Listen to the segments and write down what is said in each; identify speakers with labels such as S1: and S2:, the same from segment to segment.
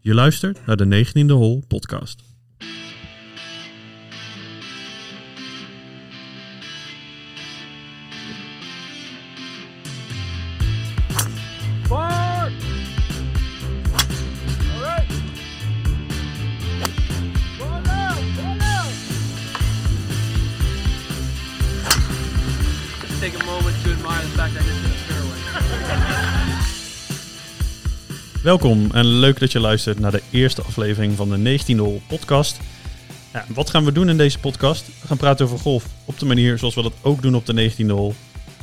S1: Je luistert naar de 19e Hol podcast.
S2: Forward! All right. Ball out, ball out. Let's take a moment to admire the fact I just hit a fairway.
S1: Welkom en leuk dat je luistert naar de eerste aflevering van de 19e Hol podcast. Ja, wat gaan we doen in deze podcast? We gaan praten over golf op de manier zoals we dat ook doen op de 19e Hol.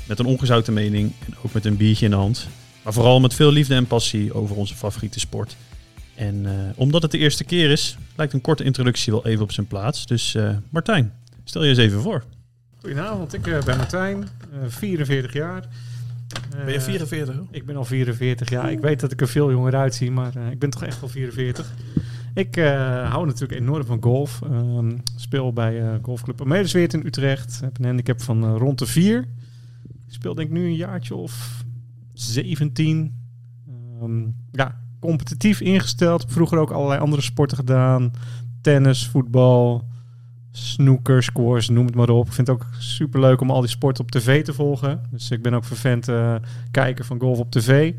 S1: Met een ongezouten mening en ook met een biertje in de hand. Maar vooral met veel liefde en passie over onze favoriete sport. En eh, omdat het de eerste keer is, lijkt een korte introductie wel even op zijn plaats. Dus eh, Martijn, stel je eens even voor.
S3: Goedenavond, ik eh, ben Martijn, eh, 44 jaar. Eh,
S1: 44?
S3: Ik ben al 44 jaar. Ik weet dat ik er veel jonger uitzie, maar eh, ik ben toch echt al 44. Ik eh, hou natuurlijk enorm van golf. Ehm, speel bij eh, golfclub Amelisweert in Utrecht. Heb een handicap van eh, rond de 4. Ik speel denk ik nu een jaartje of 17. Ehm, ja, competitief ingesteld. Vroeger ook allerlei andere sporten gedaan. Tennis, voetbal, snoeker, squash, noem het maar op. Ik vind het ook superleuk om al die sporten op tv te volgen. Dus ik ben ook vervent... eh, kijken van golf op tv.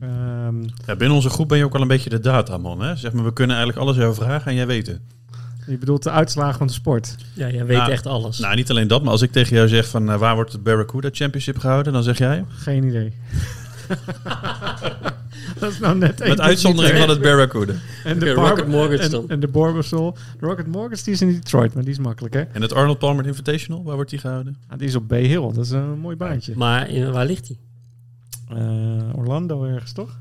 S3: Ehm,
S1: Ja, binnen onze groep ben je ook al een beetje de dataman. Hè? Zeg maar, we kunnen eigenlijk alles jou vragen en jij weet het.
S3: je bedoelt de uitslagen van de sport.
S4: Ja, jij weet
S1: Nou,
S4: echt alles.
S1: Nou, niet alleen dat, maar als ik tegen jou zeg van eh, waar wordt het Barracuda Championship gehouden, dan zeg jij.
S3: Geen idee. dat is nou net één
S1: Met
S3: ding
S1: uitzondering
S3: niet,
S1: van
S3: hè?
S1: het Barracuda.
S3: en de
S4: Oké,
S3: Barb-
S4: Rocket Mortgage
S3: en-
S4: dan.
S3: En de Barbasol. De Rocket Mortgage die is in Detroit, maar die is makkelijk, hè?
S1: En het Arnold Palmer Invitational, waar wordt die gehouden?
S3: Ah, die is op Bay Hill, dat is een mooi baantje.
S4: Maar in- waar ligt hij?
S3: Eh, Orlando ergens, toch?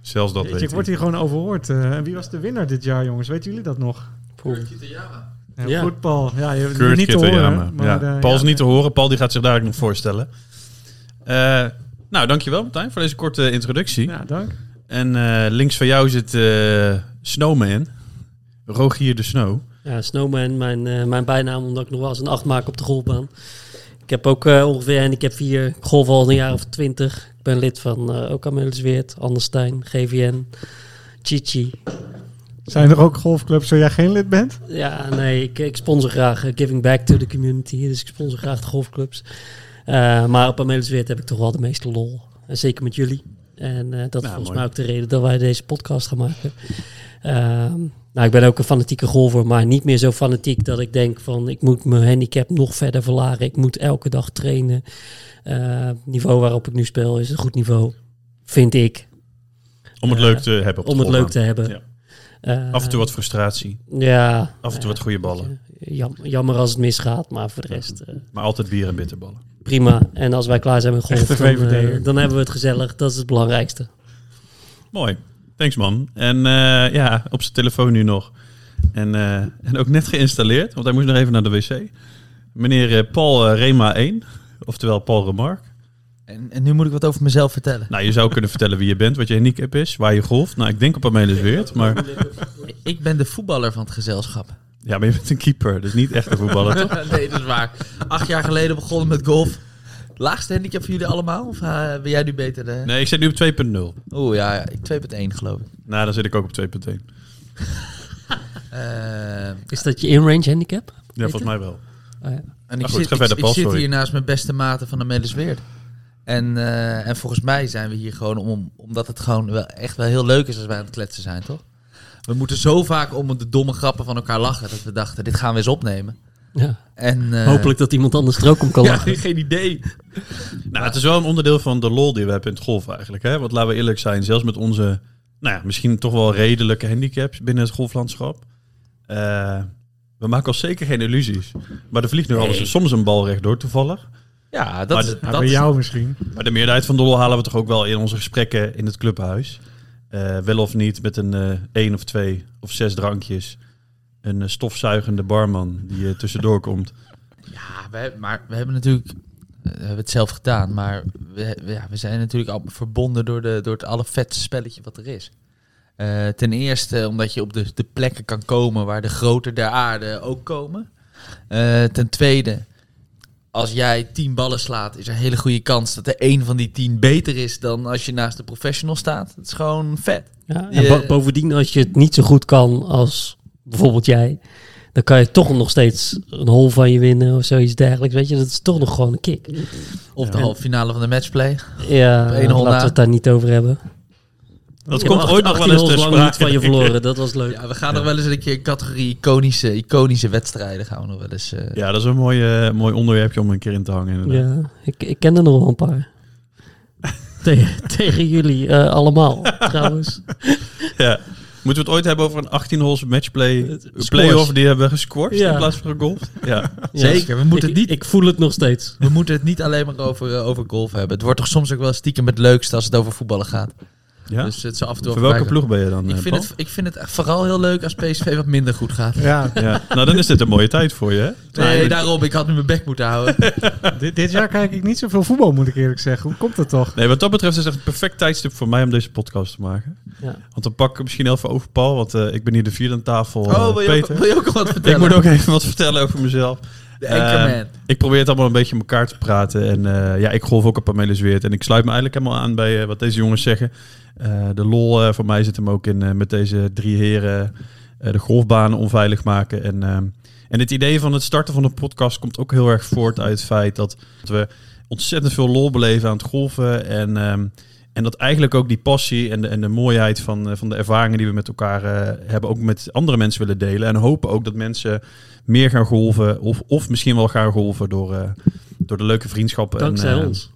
S1: Zelfs dat
S3: Jeetje, ik
S1: weet
S3: word
S1: ik.
S3: hier gewoon overhoord. Eh, en wie was de winnaar dit jaar, jongens? Weten jullie dat nog? Eh,
S4: Ja.
S3: Goed, Paul. Ja, je hebt
S1: Kurt
S3: niet te
S1: Kitter,
S3: horen.
S1: ja, maar-
S3: maar,
S1: ja.
S3: eh,
S1: Paul is
S3: ja,
S1: niet te horen. Paul die gaat zich dadelijk nog voorstellen. Eh, nou, dankjewel Martijn voor deze korte introductie.
S3: Ja, dank.
S1: En eh, links van jou zit eh Snowman. Rogier de Snow.
S4: Ja, Snowman, mijn, eh, mijn bijnaam, omdat ik nog wel eens een acht maak op de golfbaan. Ik heb ook eh, ongeveer, en ik heb vier golf al een jaar of twintig. Ik ben lid van eh ook Amelisweert, Anderstein, GVN, Chichi.
S3: Zijn er ook golfclubs waar jij geen lid bent?
S4: Ja, nee, ik, ik sponsor graag eh, giving back to the community, dus ik sponsor graag de golfclubs. Eh, maar op Amelisweert heb ik toch wel de meeste lol, En zeker met jullie. En eh, dat is
S1: Nou,
S4: volgens
S1: mooi.
S4: mij ook de reden dat wij deze podcast gaan maken. Ehm, nou, ik ben ook een fanatieke golfer, maar niet meer zo fanatiek dat ik denk van ik moet mijn handicap nog verder verlagen. Ik moet elke dag trainen. Eh, het niveau waarop ik nu speel is een goed niveau, vind ik,
S1: Om het
S4: Ja,
S1: leuk te hebben. Op de
S4: om het leuk
S1: golfbaan.
S4: te hebben.
S1: Ja.
S4: Eh,
S1: Af en toe wat frustratie.
S4: Ja.
S1: Af en toe wat goede ballen.
S4: Jam- jammer als het misgaat, maar voor de rest eh,
S1: Maar altijd bier en bitterballen.
S4: prima. En als wij klaar zijn met golf,
S3: Echte
S4: dan, eh,
S3: VVD'er.
S4: dan hebben we het gezellig. Dat is het belangrijkste.
S1: Mooi. Thanks man. En eh, ja, op zijn telefoon nu nog. En, eh, en ook net geïnstalleerd, want hij moest nog even naar de wc. Meneer eh, Paul eh, Rema 1, oftewel Paul Remark.
S5: En, en nu moet ik wat over mezelf vertellen.
S1: Nou, je zou kunnen vertellen wie je bent, wat je handicap is, waar je golft. Nou, ik denk op Amelisweert, maar...
S5: Ik ben de voetballer van het gezelschap.
S1: Ja, maar je bent een keeper, dus niet echt een voetballer, toch?
S5: nee, dat is waar. Acht jaar geleden begonnen met golf. Laagste handicap voor jullie allemaal? Of eh, ben jij nu beter? eh?
S1: Nee, ik zit nu op 2.0. Nou,
S5: Oeh, ja, ja, ik 2.1 geloof ik.
S1: dan zit ik ook op 2.1.
S5: Eh,
S4: Is dat je in-range handicap?
S1: Ja, volgens mij wel.
S4: Oh, ja.
S5: en ik
S1: goed,
S5: zit,
S1: ga
S5: ik,
S1: verder,
S5: ik
S1: Paul,
S5: zit
S1: sorry.
S5: hier naast mijn beste maten van de Medesweerd. En, eh, en volgens mij zijn we hier gewoon om, omdat het gewoon wel echt wel heel leuk is als wij aan het kletsen zijn, toch? We moeten zo vaak om de domme grappen van elkaar lachen dat we dachten, dit gaan we eens opnemen.
S4: Ja.
S5: En, eh,
S4: Hopelijk dat iemand anders er ook om kan
S5: Ja,
S4: lachen.
S5: geen idee.
S1: Nou, het is wel een onderdeel van de lol die we hebben in het golf eigenlijk. Hè? Want laten we eerlijk zijn, zelfs met onze, nou ja, misschien toch wel redelijke handicaps binnen het golflandschap. eh, we maken ons zeker geen illusies. Maar er vliegt nu alles, soms een bal rechtdoor toevallig.
S5: Ja, dat,
S1: Maar
S5: is-
S1: d-
S3: Ja,
S5: dat
S3: bij
S5: is
S3: jou misschien.
S1: Maar de meerderheid van de lol halen we toch ook wel in onze gesprekken in het clubhuis. Eh, wel of niet met een eh, één of twee of zes drankjes. Een eh, stofzuigende barman die eh, tussendoor komt.
S5: Ja, we, maar we hebben natuurlijk eh, we hebben het zelf gedaan, maar we, we- ja, we zijn natuurlijk al verbonden door, de, door het allervetste spelletje wat er is. Eh, ten eerste omdat je op de, de plekken kan komen waar de groter der aarde ook komen. Eh, ten tweede, als jij tien ballen slaat, is er een hele goede kans dat er één van die tien beter is dan als je naast de professional staat. Dat is gewoon vet.
S4: Ja,
S5: Je-
S4: en bo- bovendien, als je het niet zo goed kan als bijvoorbeeld jij, dan kan je toch nog steeds een hol van je winnen of zoiets dergelijks. Weet je, dat is toch nog gewoon een kick.
S5: Of de halve finale van de matchplay.
S4: Ja,
S5: Op één
S4: laten
S5: hol
S4: we
S5: na.
S4: het daar niet over hebben.
S1: Dat
S4: Ik
S1: komt
S4: heb
S1: ooit nog
S4: 18
S1: wel eens
S4: hols
S1: ter
S4: lang
S1: sprake.
S4: niet van je verloren, dat was leuk.
S5: Ja, we gaan nog wel eens een keer categorie iconische, iconische wedstrijden gaan we nog wel eens. eh,
S1: Ja, dat is een mooi, eh, mooi onderwerpje om een keer in te hangen.
S4: Ja,
S1: inderdaad.
S4: ik, ik ken er nog wel een paar. tegen, tegen jullie eh, allemaal, trouwens.
S1: Ja. Moeten we het ooit hebben over een 18-holes
S5: Eh,
S1: matchplay?
S4: Squash.
S1: Playoff die hebben gesquashed
S4: Ja.
S1: in plaats van gegolfd? Ja.
S5: Zeker, we moeten
S4: ik,
S5: het niet-
S4: Ik voel het nog steeds.
S5: We moeten het niet alleen maar over, eh, over golf hebben. Het wordt toch soms ook wel stiekem het leukste als het over voetballen gaat.
S1: ja?
S5: Dus het is af en toe
S1: Voor
S5: wel
S1: welke ploeg ben je dan?
S5: Ik
S1: eh,
S5: vind,
S1: Paul?
S5: het, ik vind het echt vooral heel leuk als PSV wat minder goed gaat.
S3: Ja,
S1: Ja. Nou, dan is dit een mooie tijd voor je, hè?
S5: Nee, daarom. Ik had nu mijn bek moeten houden.
S3: dit, dit jaar kijk ik niet zoveel voetbal, moet ik eerlijk zeggen. Hoe komt dat toch?
S1: Nee, wat dat betreft is het echt een perfect tijdstip voor mij om deze podcast te maken.
S4: Ja.
S1: Want dan pak ik misschien heel veel over Paul, want eh, ik ben hier de vierde aan tafel. eh,
S5: Oh, wil je, ook,
S1: Peter.
S5: wil je ook wat
S1: ik
S5: vertellen?
S1: moet ook even wat vertellen over mezelf.
S5: De
S1: Eh,
S5: Anchorman.
S1: ik probeer het allemaal een beetje in elkaar te praten. En eh, ja, ik golf ook op Pamela Zweert. En ik sluit me eigenlijk helemaal aan bij eh, wat deze jongens zeggen. Eh, de lol eh, voor mij zit hem ook in eh, met deze drie heren eh, de golfbanen onveilig maken. En, ehm, en het idee van het starten van een podcast komt ook heel erg voort uit het feit dat we ontzettend veel lol beleven aan het golfen. En, ehm, en dat eigenlijk ook die passie en de, en de mooiheid van, eh, van de ervaringen die we met elkaar eh, hebben, ook met andere mensen willen delen. En hopen ook dat mensen meer gaan golven of, of misschien wel gaan golven door, eh, door de leuke vriendschappen.
S4: Dankzij
S1: en,
S5: Nou
S1: eh,
S4: ons.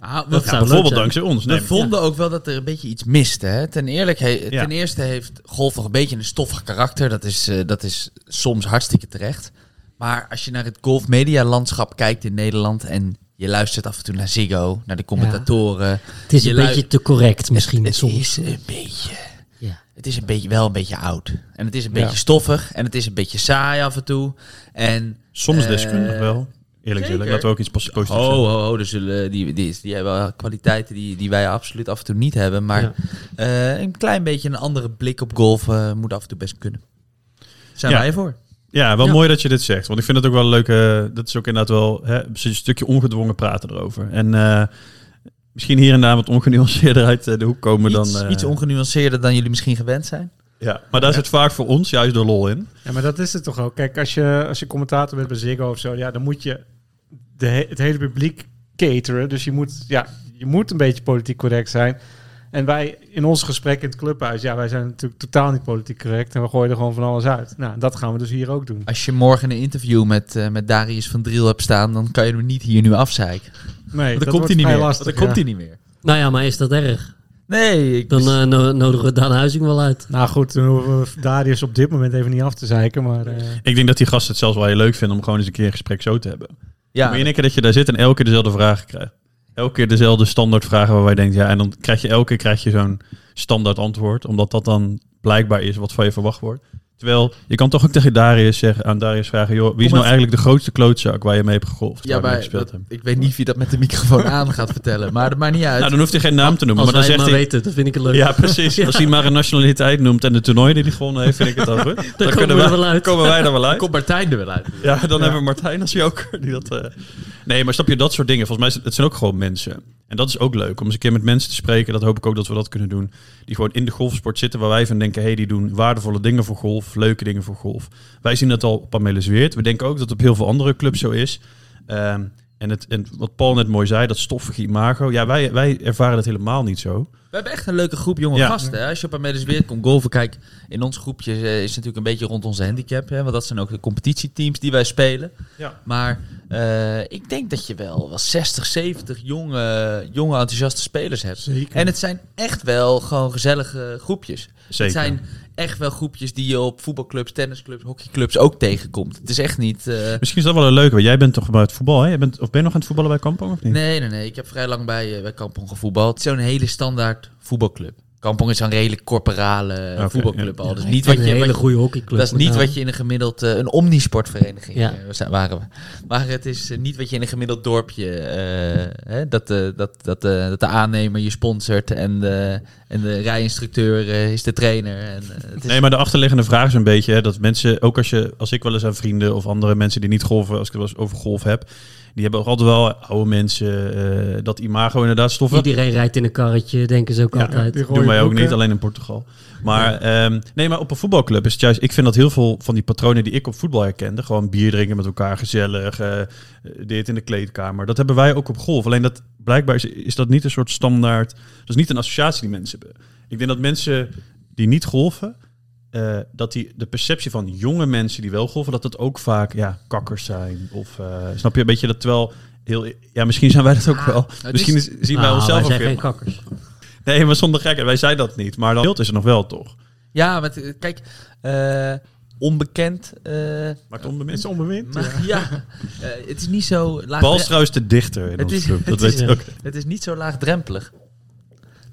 S5: Ah, we
S4: Dat
S1: Ja,
S4: zou leuk
S1: bijvoorbeeld
S4: zijn.
S1: dankzij ons. Nee,
S5: we vonden ook wel dat er een beetje iets miste. Hè? Ten, eerlijk he-
S1: Ja.
S5: ten eerste heeft golf nog een beetje een stoffig karakter. Dat is, eh, dat is soms hartstikke terecht. Maar als je naar het golfmedialandschap kijkt in Nederland... en je luistert af en toe naar Ziggo, naar de commentatoren...
S4: Het is
S5: Je
S4: een
S5: lui-
S4: beetje te correct misschien
S5: het
S4: soms.
S5: is eh, een beetje...
S4: Ja.
S5: Het is een beetje, wel een beetje oud. En het is een
S3: Ja.
S5: beetje stoffig. En het is een beetje saai af en toe. En
S1: Soms
S5: Eh,
S1: deskundig wel. Eerlijk
S5: zeker.
S1: gezegd, laten we ook iets pos- positiefs
S5: Oh,
S1: zeggen.
S5: oh, oh, dus zullen, die, die, die hebben wel kwaliteiten die, die wij absoluut af en toe niet hebben. Maar
S4: Ja.
S5: eh, een klein beetje een andere blik op golf eh, moet af en toe best kunnen. Zijn
S1: Ja.
S5: wij voor?
S1: Ja, wel
S4: Ja.
S1: mooi dat je dit zegt. Want ik vind het ook wel leuk. eh, dat is ook inderdaad wel hè, een stukje ongedwongen praten erover. En eh, misschien hier en daar wat ongenuanceerder uit eh, de hoek komen
S5: iets,
S1: dan. eh,
S5: iets ongenuanceerder dan jullie misschien gewend zijn.
S1: ja. Maar daar zit vaak voor ons juist de lol in.
S3: Ja, maar dat is het toch ook. Kijk, als je, als je commentator bent bij Ziggo of zo, ja, dan moet je de he- het hele publiek cateren. Dus je moet, ja, je moet een beetje politiek correct zijn. En wij in ons gesprek in het clubhuis, ja, wij zijn natuurlijk totaal niet politiek correct. En we gooien er gewoon van alles uit. Nou, dat gaan we dus hier ook doen.
S5: Als je morgen een interview met, eh, met Darius van Driel hebt staan, dan kan je hem niet hier nu afzeiken. Want
S3: Nee,
S5: dan komt
S3: wordt
S5: hij niet
S3: vrij
S5: meer.
S3: lastig,
S5: dan komt
S3: ja.
S5: hij niet meer.
S4: Nou ja, maar is dat erg?
S5: Nee, ik
S4: Dan eh, no- nodigen we Daan Huizing wel uit.
S3: Nou goed, dan hoeven we Darius op dit moment even niet af te zeiken. Maar eh,
S1: Ik denk dat die gasten het zelfs wel heel leuk vinden om gewoon eens een keer een gesprek zo te hebben.
S5: ja,
S1: Maar in één keer dat je daar zit en elke keer dezelfde vragen krijgt. Elke keer dezelfde standaardvragen waar wij denken, ja, en dan krijg je elke keer krijg je zo'n standaard antwoord, omdat dat dan blijkbaar is wat van je verwacht wordt. Terwijl je kan toch ook tegen Darius zeggen, aan Darius vragen, joh, wie is nou
S5: Kom even-
S1: eigenlijk de grootste klootzak waar je mee hebt gegolfd?
S5: ja,
S1: waar je mee
S5: maar
S1: gespeeld
S5: dat-
S1: hebt?
S5: ik weet niet wie dat met de microfoon aan gaat vertellen. Maar dat maakt niet uit.
S1: Nou, dan hoeft hij geen naam te noemen,
S4: Als
S1: maar
S4: wij
S1: dan
S4: het
S1: zegt
S4: maar
S1: hij.
S4: weten, dat vind ik het leuk.
S1: Ja, precies. Als hij maar een nationaliteit noemt en de toernooi die hij gewonnen heeft, vind ik het al goed. Dan,
S4: komen
S1: kunnen
S4: we
S1: wij,
S4: er wel uit.
S1: komen wij er wel
S5: dan
S1: uit.
S5: komt Martijn er wel uit.
S1: Ja, dan hebben we Martijn als joker. Die dat, eh. Nee, maar snap je, dat soort dingen. Volgens mij zijn het zijn ook gewoon mensen. En dat is ook leuk, om eens een keer met mensen te spreken. Dat hoop ik ook dat we dat kunnen doen. Die gewoon in de golfsport zitten, waar wij van denken... hé, hey, die doen waardevolle dingen voor golf, leuke dingen voor golf. Wij zien dat al op Pamela Zweert. We denken ook dat het op heel veel andere clubs zo is. Ehm, en, het, en wat Paul net mooi zei, dat stoffige imago. Ja, wij, wij ervaren dat helemaal niet zo.
S5: We hebben echt een leuke groep jonge
S1: Ja.
S5: gasten. Hè? Als je op Amelis weer komt golven, kijk, in ons groepje eh, is natuurlijk een beetje rond onze handicap. Hè? Want dat zijn ook de competitieteams die wij spelen.
S1: Ja.
S5: Maar eh, ik denk dat je wel, wel 60, 70 jonge, jonge enthousiaste spelers hebt.
S3: Zeker.
S5: En het zijn echt wel gewoon gezellige groepjes.
S1: Zeker.
S5: Het zijn echt wel groepjes die je op voetbalclubs, tennisclubs, hockeyclubs ook tegenkomt. Het is echt niet... eh,
S1: Misschien is dat wel een leuke, want jij bent toch bij het voetbal, hè? Jij bent, of ben je nog aan het voetballen bij Kampong, of niet?
S5: Nee, nee, nee. Ik heb vrij lang bij, eh, bij Kampong gevoetbald. Het is zo'n hele standaard voetbalclub. Kampong is zo'n redelijk corporale eh,
S1: Oké,
S5: voetbalclub al. Dus
S4: Ja, ik
S5: niet
S4: vind
S5: wat je,
S4: een hele
S5: wat je-
S4: goede hockeyclub.
S5: dat is niet
S4: Nou,
S5: wat je in een gemiddeld... eh, een omnisportvereniging
S4: Ja.
S5: eh, zijn- waren we. Maar het is eh, niet wat je in een gemiddeld dorpje... eh, hè, dat, eh, dat, dat, eh, dat de aannemer je sponsort en de, en de rijinstructeur eh, is de trainer. En, eh, het is
S1: Nee, maar de achterliggende vraag is een beetje hè, dat mensen, ook als je, als ik wel eens aan vrienden of andere mensen die niet golven, als ik het wel eens over golf heb, Die hebben ook altijd wel oude mensen, eh, dat imago inderdaad stoffen.
S4: Iedereen rijdt in een karretje, denken ze ook
S1: Ja,
S4: altijd.
S1: Doen
S3: die Rode
S1: wij ook
S3: broeken.
S1: niet, alleen in Portugal. Maar, ehm, nee, maar op een voetbalclub is het juist... Ik vind dat heel veel van die patronen die ik op voetbal herkende... gewoon bier drinken met elkaar, gezellig, eh, eh, dit in de kleedkamer. Dat hebben wij ook op golf. Alleen dat, blijkbaar is, is dat niet een soort standaard... Dat is niet een associatie die mensen hebben. Ik denk dat mensen die niet golven... eh, dat die de perceptie van jonge mensen die wel golven... dat dat ook vaak ja, kakkers zijn. Of eh, snap je een beetje dat terwijl... Heel, ja, misschien zijn wij dat ook wel.
S5: is-
S1: Misschien is- zien wij
S4: Nou,
S1: onszelf ook
S4: wij zijn
S1: heel-
S4: geen kakkers.
S1: Nee, maar zonder gekken. Wij zeiden dat niet. Maar dan beeld is er nog wel, toch?
S5: Ja, want eh, kijk, eh, onbekend. eh,
S1: Maakt onbemind.
S3: is onbewind.
S5: maar, ja, eh, het is niet zo
S1: Paul is
S5: laagdrempelig.
S1: trouwens de dichter in
S5: Het
S1: onze
S5: is-
S1: club. Dat
S5: het is-
S1: weet je ook.
S5: Het is niet zo laagdrempelig.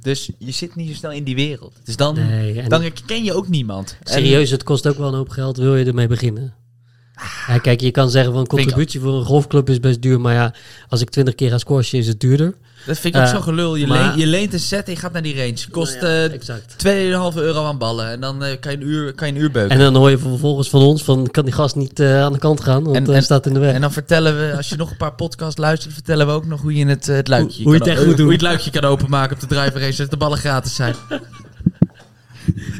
S5: Dus je zit niet zo snel in die wereld. Dus dan,
S4: Nee, en
S5: dan ken je ook niemand. En-
S4: serieus, het kost ook wel een hoop geld. Wil je ermee beginnen? Ja, kijk, je kan zeggen van een
S5: Ah. Vind ik
S4: contributie voor een golfclub is best duur. Maar ja, als ik 20 keer ga squashen is het duurder.
S5: dat vind ik ook
S4: Eh,
S5: zo gelul. Je,
S4: maar-
S5: leent, je leent een set en je gaat naar die range. Kost
S4: Nou ja,
S5: eh,
S4: exact.
S5: 2,5 euro aan ballen. En dan eh, kan, je een uur, kan je een uur beuken.
S4: En dan hoor je vervolgens van ons van kan die gast niet eh, aan de kant gaan, want
S5: En-
S4: hij
S5: en-
S4: staat in de weg.
S5: En dan vertellen we, als je nog een paar podcasts luistert, vertellen we ook nog hoe je het, eh, het luikje
S4: Hoe- hoe je
S5: kan
S4: het echt
S5: o-
S4: moet doen.
S5: Hoe je het luikje kan openmaken op de driver race, dat de ballen gratis zijn.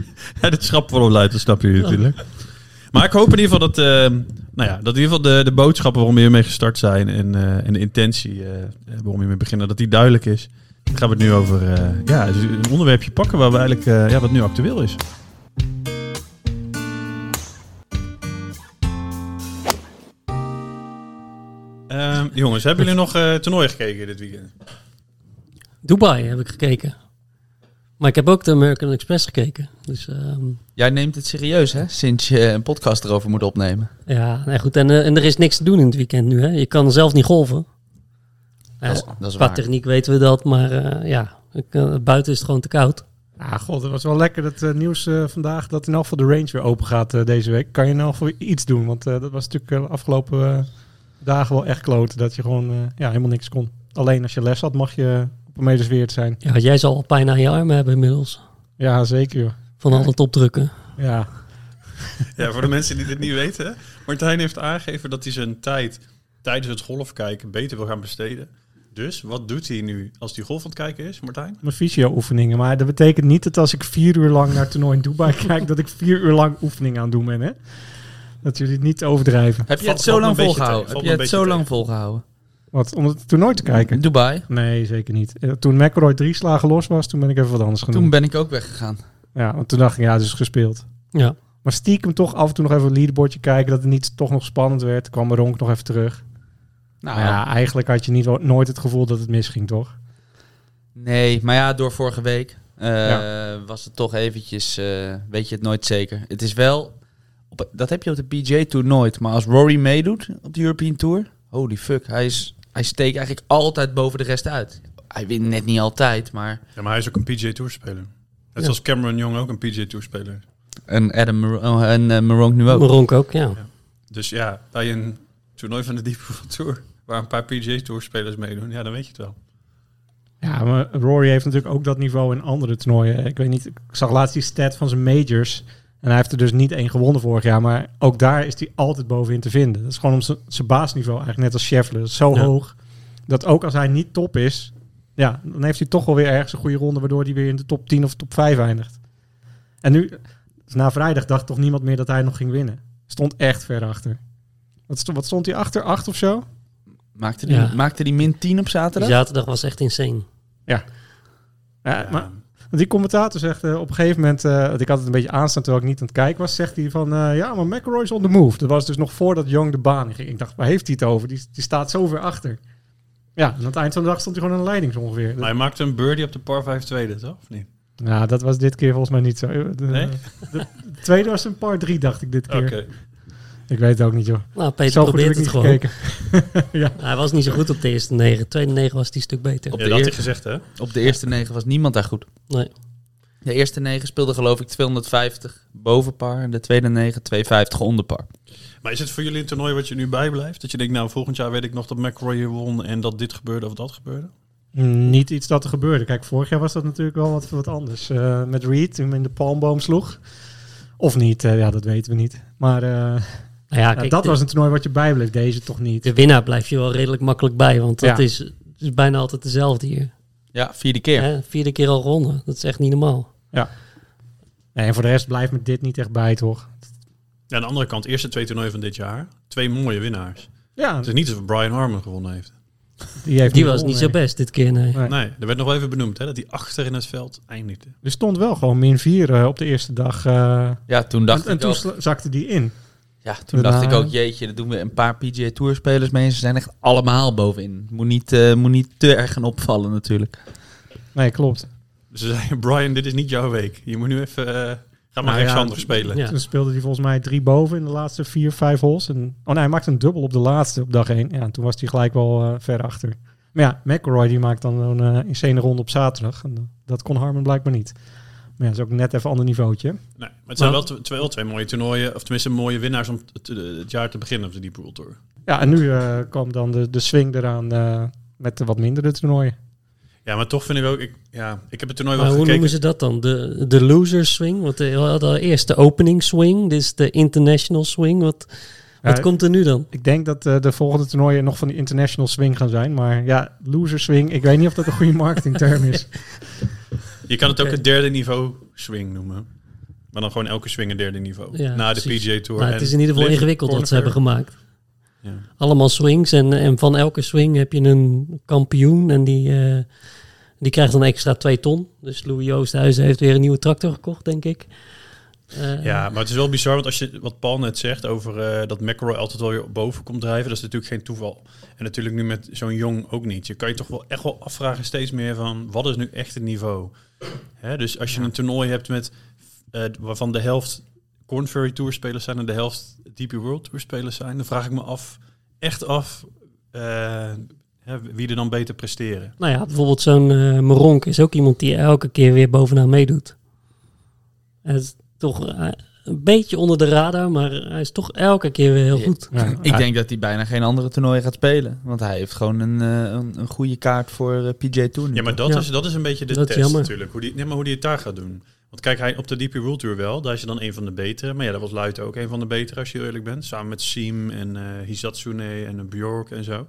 S1: Ja, dat schrap wel op luid, dat snap je natuurlijk. Maar ik hoop in ieder geval dat, ehm, nou ja, dat in ieder geval de, de boodschappen waarom we mee gestart zijn en, eh, en de intentie eh, eh, waarom we mee beginnen, dat die duidelijk is. Dan gaan we het nu over eh, ja, dus een onderwerpje pakken waar we eigenlijk, eh, ja, wat nu actueel is. Ehm, jongens, hebben jullie nog eh toernooi gekeken dit weekend?
S4: Dubai heb ik gekeken. Maar ik heb ook de American Express gekeken. Dus ehm,
S5: Jij neemt het serieus, hè? Sinds je een podcast erover moet opnemen.
S4: ja, nou goed. En, eh, en er is niks te doen in het weekend nu. Hè? Je kan zelf niet golven. Ja,
S5: Dat is, dat is
S4: qua
S5: waar.
S4: techniek weten we dat, maar eh, ja, ik, eh, buiten is het gewoon te koud.
S3: Ah, god, het was wel lekker dat eh, nieuws eh, vandaag dat in elk geval de range weer open gaat eh, deze week. Kan je in elk geval weer iets doen? Want eh, dat was natuurlijk eh, de afgelopen eh, dagen wel echt kloten. Dat je gewoon eh, ja, helemaal niks kon. Alleen als je les had mag je op een metersweerd zijn.
S4: Ja, want jij zal al pijn aan je armen hebben inmiddels.
S3: Ja, zeker joh.
S4: Van al het opdrukken.
S3: Ja,
S1: Ja, voor de mensen die dit niet weten. Martijn heeft aangegeven dat hij zijn tijd tijdens het golfkijken beter wil gaan besteden. Dus wat doet hij nu als hij golf aan het kijken is, Martijn?
S3: mijn fysio-oefeningen. Maar dat betekent niet dat als ik vier uur lang naar het toernooi in Dubai kijk, dat ik vier uur lang oefeningen aan het doen ben. Hè? Dat jullie het niet overdrijven.
S5: Heb je
S1: Valt-
S5: het zo
S1: valt me
S5: lang
S1: een beetje
S5: volgehouden?
S1: tegen,
S5: Heb je
S1: valt me
S5: het
S1: een beetje
S5: zo lang volgehouden?
S3: Wat, om het toernooi te kijken?
S5: Dubai.
S3: Nee, zeker niet. Eh, Toen McElroy drie slagen los was, toen ben ik even wat anders gaan doen.
S5: Toen ben ik ook weggegaan.
S3: Ja, want toen dacht ik, ja, het is gespeeld.
S4: Ja.
S3: Maar stiekem toch af en toe nog even het leaderboardje kijken, dat het niet toch nog spannend werd. Kwam Ronk nog even terug.
S5: Nou
S3: Maar ja, eigenlijk had je niet, nooit het gevoel dat het misging, toch?
S5: Nee, maar ja, door vorige week eh,
S3: Ja.
S5: was het toch eventjes, eh, weet je het nooit zeker. Het is wel, op, dat heb je op de PJ Tour nooit, maar als Rory meedoet op de European Tour, holy fuck, hij, is, hij steekt eigenlijk altijd boven de rest uit. Hij wint net niet altijd, maar...
S1: Ja, maar hij is ook een PJ Tour speler.
S4: Ja.
S1: Net zoals Cameron Young ook een PJ Tour speler.
S5: En Adam Mar- oh, en eh, Maronk nu ook.
S4: Ronk ook, ja.
S1: Dus ja, bij een toernooi van de Deep Purple Tour, waar een paar PJ Tour spelers meedoen, ja, dan weet je het wel.
S3: Ja, maar Rory heeft natuurlijk ook dat niveau in andere toernooien. Ik weet niet, ik zag laatst die stat van zijn majors. En hij heeft er dus niet één gewonnen vorig jaar. Maar ook daar is hij altijd bovenin te vinden. Dat is gewoon om zijn- zijn baasniveau eigenlijk, net als Scheffler. Dat is zo
S4: Ja.
S3: hoog, dat ook als hij niet top is... Ja, dan heeft hij toch wel weer ergens een goede ronde... waardoor hij weer in de top 10 of top 5 eindigt. En nu, dus na vrijdag dacht toch niemand meer dat hij nog ging winnen. Stond echt ver achter. Wat stond, wat stond hij achter? Acht of zo?
S5: Maakte die,
S4: Ja.
S5: maakte die min 10 op
S4: Die
S5: zaterdag?
S4: zaterdag was echt insane.
S3: Ja, maar
S1: Ja.
S3: Want die commentator zegt eh, op een gegeven moment, eh, want ik had het een beetje aanstaan terwijl ik niet aan het kijken was, zegt hij van eh, ja, maar McElroy is on the move. Dat was dus nog voordat Young de baan in ging. Ik dacht, waar heeft hij het over? Die, die staat zo ver achter. Ja, en aan het eind van de dag stond hij gewoon aan de leiding zo ongeveer.
S1: Maar hij maakte een birdie op de par 5 tweede, toch? Of niet?
S3: Nou, dat was dit keer volgens mij niet zo. Eh, De,
S1: Nee?
S3: de- de tweede was een par drie, dacht ik dit
S1: Oké.
S3: keer. Ik weet het ook niet, joh.
S4: Nou, Peter
S3: zo goed heb
S4: probeert het
S3: ik niet
S4: gewoon.
S3: gekeken. ja.
S4: Hij was niet zo goed op de eerste negen. Tweede negen was die stuk beter.
S5: Op
S1: Ja,
S5: de
S1: dat had
S5: eer-
S1: hij gezegd, hè?
S5: Op de eerste negen was niemand daar goed.
S4: Nee. Nou
S5: De eerste negen speelde geloof ik 250 boven par. En de tweede negen 250 onder par.
S1: Maar is het voor jullie een toernooi wat je nu bijblijft? Dat je denkt, nou, volgend jaar weet ik nog dat McRoy hier won en dat dit gebeurde of dat gebeurde?
S3: Mm, Niet iets dat er gebeurde. Kijk, vorig jaar was dat natuurlijk wel wat, wat anders. Eh, met Reed, toen hem in de palmboom sloeg. Of niet, eh, ja, dat weten we niet. Maar eh,
S4: Nou ja,
S3: Ja,
S4: kijk,
S3: dat
S4: de,
S3: was een toernooi wat je bijbleef, deze toch niet.
S4: de winnaar blijf je wel redelijk makkelijk bij, want dat
S3: Ja.
S4: is, is bijna altijd dezelfde hier.
S5: Ja, vierde keer.
S4: Hè, vierde keer al ronden, dat is echt niet normaal.
S3: Nee, en voor de rest blijft me dit niet echt bij, toch?
S1: Ja, aan de andere kant, eerste twee toernooien van dit jaar. Twee mooie winnaars.
S3: Ja,
S1: Het is niet alsof Brian Harmon gewonnen heeft.
S3: Dus die, heeft
S4: Die was niet zo
S3: gewonnen,
S4: best dit keer, nee.
S3: Nee.
S1: Nee, er werd nog wel even benoemd hè, dat hij achter in het veld eindigde.
S3: nee. Er stond wel gewoon min 4 op de eerste dag. eh,
S5: Ja, toen dacht
S3: en en
S5: ik
S3: toen
S5: ook,
S3: sla- zakte die in.
S5: ja, toen dacht
S3: daarna-
S5: ik ook, jeetje, dat doen we een paar PGA Tour spelers mee. Ze zijn echt allemaal bovenin. Moet niet, eh, moet niet te erg gaan opvallen natuurlijk.
S3: Nee, klopt.
S1: Dus ze zeiden, Brian, dit is niet jouw week. Je moet nu even... eh, ga maar
S3: Nou ja,
S1: rechtshandig spelen.
S4: Ja.
S3: Toen speelde hij volgens mij drie boven in de laatste vier, vijf holes. En, oh nee, hij maakte een dubbel op de laatste op dag één. Ja, en toen was hij gelijk wel eh, ver achter. Maar ja, McElroy die maakt dan een eh insane ronde op zaterdag. En eh, dat kon Harmon blijkbaar niet. Maar ja, dat is ook net even een ander niveautje.
S1: Nee, maar het zijn
S4: Nou.
S1: wel tw- twee, wel twee mooie toernooien. Of tenminste mooie winnaars om t- t- het jaar te beginnen op de Deep World Tour.
S3: Ja, en nu eh, kwam dan de, de swing eraan eh, met de wat mindere toernooien.
S1: Ja, maar toch vind ik ook... Ik, ja, ik heb het toernooi
S4: Maar
S1: wel
S4: hoe
S1: gekeken.
S4: noemen ze dat dan? De, de loser swing? Want eh, we hadden eerst de opening swing, dit is de international swing. Wat, wat
S3: Ja,
S4: komt er nu dan?
S3: Ik denk dat eh, de volgende toernooien nog van die international swing gaan zijn. Maar ja, loser swing, ik weet niet of dat een goede marketingterm is.
S1: Je kan het ook
S4: Oké.
S1: het derde niveau swing noemen. Maar dan gewoon elke swing een derde niveau.
S4: Ja,
S1: Na de
S4: precies.
S1: PGA Tour.
S4: Nou, het is in ieder geval ingewikkeld wat ze hebben gemaakt.
S1: Ja.
S4: Allemaal swings en, en van elke swing heb je een kampioen en die, eh, die krijgt dan extra twee ton. Dus Louis Oosthuizen heeft weer een nieuwe tractor gekocht, denk ik. Eh,
S1: Ja, maar het is wel bizar, want als je wat Paul net zegt over eh, dat McElroy altijd wel weer boven komt drijven, dat is natuurlijk geen toeval. En natuurlijk nu met zo'n jong ook niet. Je kan je toch wel echt wel afvragen steeds meer van wat is nu echt het niveau? Hè, dus als je een toernooi hebt met eh, waarvan de helft Corn Ferry Tour spelers zijn en de helft DP World Tour spelers zijn, dan vraag ik me af, echt af, eh, hè, wie er dan beter presteren.
S4: Nou ja, bijvoorbeeld zo'n eh Maronk is ook iemand die elke keer weer bovenaan meedoet. Hij is toch eh, een beetje onder de radar, maar hij is toch elke keer weer heel
S5: Ja.
S4: goed.
S3: Ja,
S5: Ik denk dat hij bijna geen andere toernooi gaat spelen. Want hij heeft gewoon een, eh, een, een goede kaart voor eh, PGA Tour. nu.
S1: Ja, maar dat,
S4: Ja.
S1: Is, dat is een beetje de
S4: Dat is
S1: test
S4: jammer.
S1: natuurlijk. Hoe die, nee, maar hoe die het daar gaat doen. Want kijk, hij op de DP World Tour wel, daar is je dan een van de betere. Maar ja, dat was Luit ook een van de betere, als je heel eerlijk bent. Samen met Siem en eh Hisatsune en eh, Bjork en zo.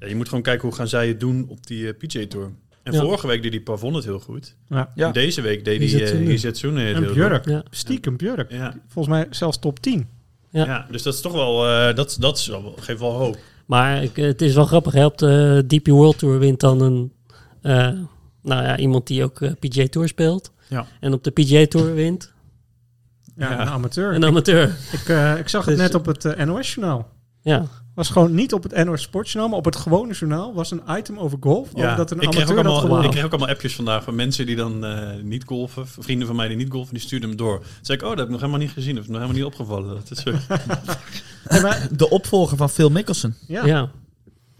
S1: Ja, je moet gewoon kijken hoe gaan zij het doen op die eh, PJ Tour. En
S4: Ja.
S1: vorige week deed die Pavon het heel goed.
S3: Ja.
S5: Ja.
S1: En Deze week deed die eh
S4: Hisatsune.
S1: Hisatsune het
S3: En
S1: heel
S3: Björk,
S4: Ja.
S3: stiekem Björk.
S1: goed. Ja,
S3: Volgens mij zelfs top 10.
S1: ja.
S4: Ja.
S1: dus dat is toch wel, eh, dat, dat is wel, geeft wel hoop.
S4: Maar ik- eh, het is wel grappig, hè? op de DP World Tour wint dan een, eh, nou ja, iemand die ook PJ Tour speelt.
S1: Ja.
S4: En op de PJ Tour wint
S3: Ja,
S1: Ja.
S3: een amateur.
S4: een amateur.
S3: Ik, eh, ik zag het
S4: Dus-
S3: net op het eh, NOS-journaal.
S4: Ja,
S3: Was gewoon niet op het NOS Sportjournaal, maar op het gewone journaal was een item over golf.
S1: Ja,
S3: Over dat een
S1: ik, kreeg ook
S3: amateur dat
S1: allemaal, ik
S3: gewonnen.
S1: kreeg ook allemaal appjes vandaag van mensen die dan eh, niet golven. Vrienden van mij die niet golven, die stuurden hem door. Toen zei ik, oh, dat heb ik nog helemaal niet gezien. Of nog helemaal niet opgevallen. Dat is, zo.
S3: Nee, maar-
S5: De opvolger van Phil Mickelson.
S3: ja.
S4: ja.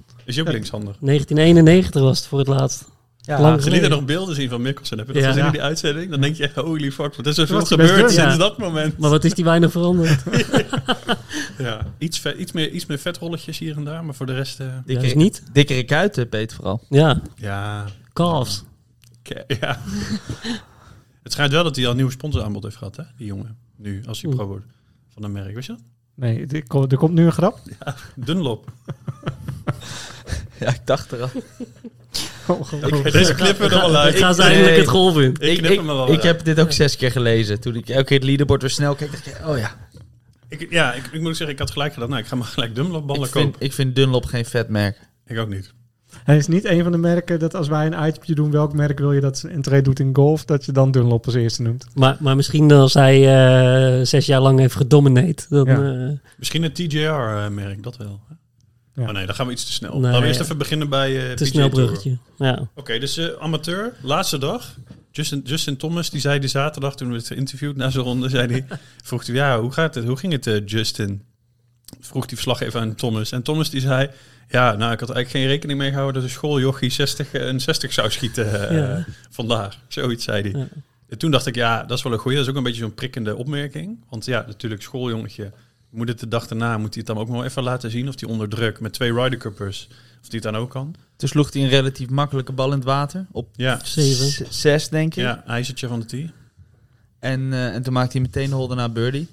S1: is je ook linkshandig.
S4: 1991 was het voor het laatst.
S5: Ja,
S4: Lang
S1: Ze lieten
S4: geleden.
S1: nog beelden zien van Mikkelsen. Heb je dat
S4: Ja.
S1: gezien in
S3: Ja.
S1: die uitzending? Dan denk je echt, holy fuck, wat is er
S3: Toen
S1: veel
S3: was hij best
S1: gebeurd
S3: dun,
S1: sinds
S4: ja.
S1: dat moment?
S4: Maar wat is die weinig veranderd?
S1: Ja, iets, vet- iets, meer, iets meer vetrolletjes hier en daar, maar voor de rest... eh,
S4: Ja, is niet.
S5: Dikkere kuiten, beet vooral.
S4: Ja,
S1: ja,
S4: calves.
S1: ke- ja. Het schijnt wel dat hij al een nieuw sponsoraanbod heeft gehad, hè? Die jongen, nu, als hij
S4: Oeh.
S1: pro wordt. Van een merk, weet je dat?
S3: Nee, er ko- er komt nu een grap.
S1: Dunlop.
S5: Ja, ik dacht er al.
S4: Oh,
S1: Ik- Deze clip er wel
S4: Ik
S1: uit.
S4: ga ze
S5: nee.
S4: eindelijk het golf in.
S1: Ik knip hem er wel
S5: ik
S1: uit.
S5: heb dit ook zes keer gelezen. Toen ik elke keer het leaderboard weer snel keek, dacht ik, oh ja.
S1: Ik, ja, ik, ik moet zeggen, ik had gelijk gedaan. Nou, ik ga maar gelijk Dunlopballen
S5: Ik
S1: kopen.
S5: vind, ik vind Dunlop geen vet merk.
S1: Ik ook niet.
S3: Hij is niet een van de merken dat als wij een itemje doen, welk merk wil je dat zijn entree doet in golf, dat je dan Dunlop als eerste noemt.
S4: Maar, maar misschien als hij eh, zes jaar lang heeft gedomineerd, dan...
S3: Ja.
S4: eh,
S1: Misschien het TJR-merk, eh, dat wel. hè?
S3: Ja.
S1: Oh nee, dan gaan we iets te snel.
S4: Nee.
S1: Laten we eerst even beginnen bij eh
S4: te
S1: PGA
S4: snel
S1: Tour.
S4: bruggetje. Ja.
S1: Oké, dus eh, amateur, laatste dag. Justin, Justin Thomas, die zei die zaterdag toen we het interviewd na zo'n ronde, zei hij, vroeg hij, ja, hoe gaat het? Hoe ging het, eh, Justin? Vroeg die verslag even aan Thomas. En Thomas die zei, ja, nou, ik had eigenlijk geen rekening mee gehouden dat een schooljochie 60, eh, een 60 zou schieten eh,
S4: Ja.
S1: vandaag. Zoiets zei hij.
S4: Ja.
S1: En toen dacht ik, ja, dat is wel een goeie. Dat is ook een beetje zo'n prikkende opmerking. Want ja, natuurlijk, schooljongetje. Moet het de dag daarna, moet hij het dan ook nog wel even laten zien? Of die onder druk met twee Ryder Cuppers, of die het dan ook kan?
S5: Toen sloeg hij een relatief makkelijke bal in het water. Op
S1: Ja,
S4: Zeven.
S5: z- zes, denk ik.
S1: ja ijzertje van de tee.
S5: En, eh, en toen maakte hij meteen de hole daarna birdie.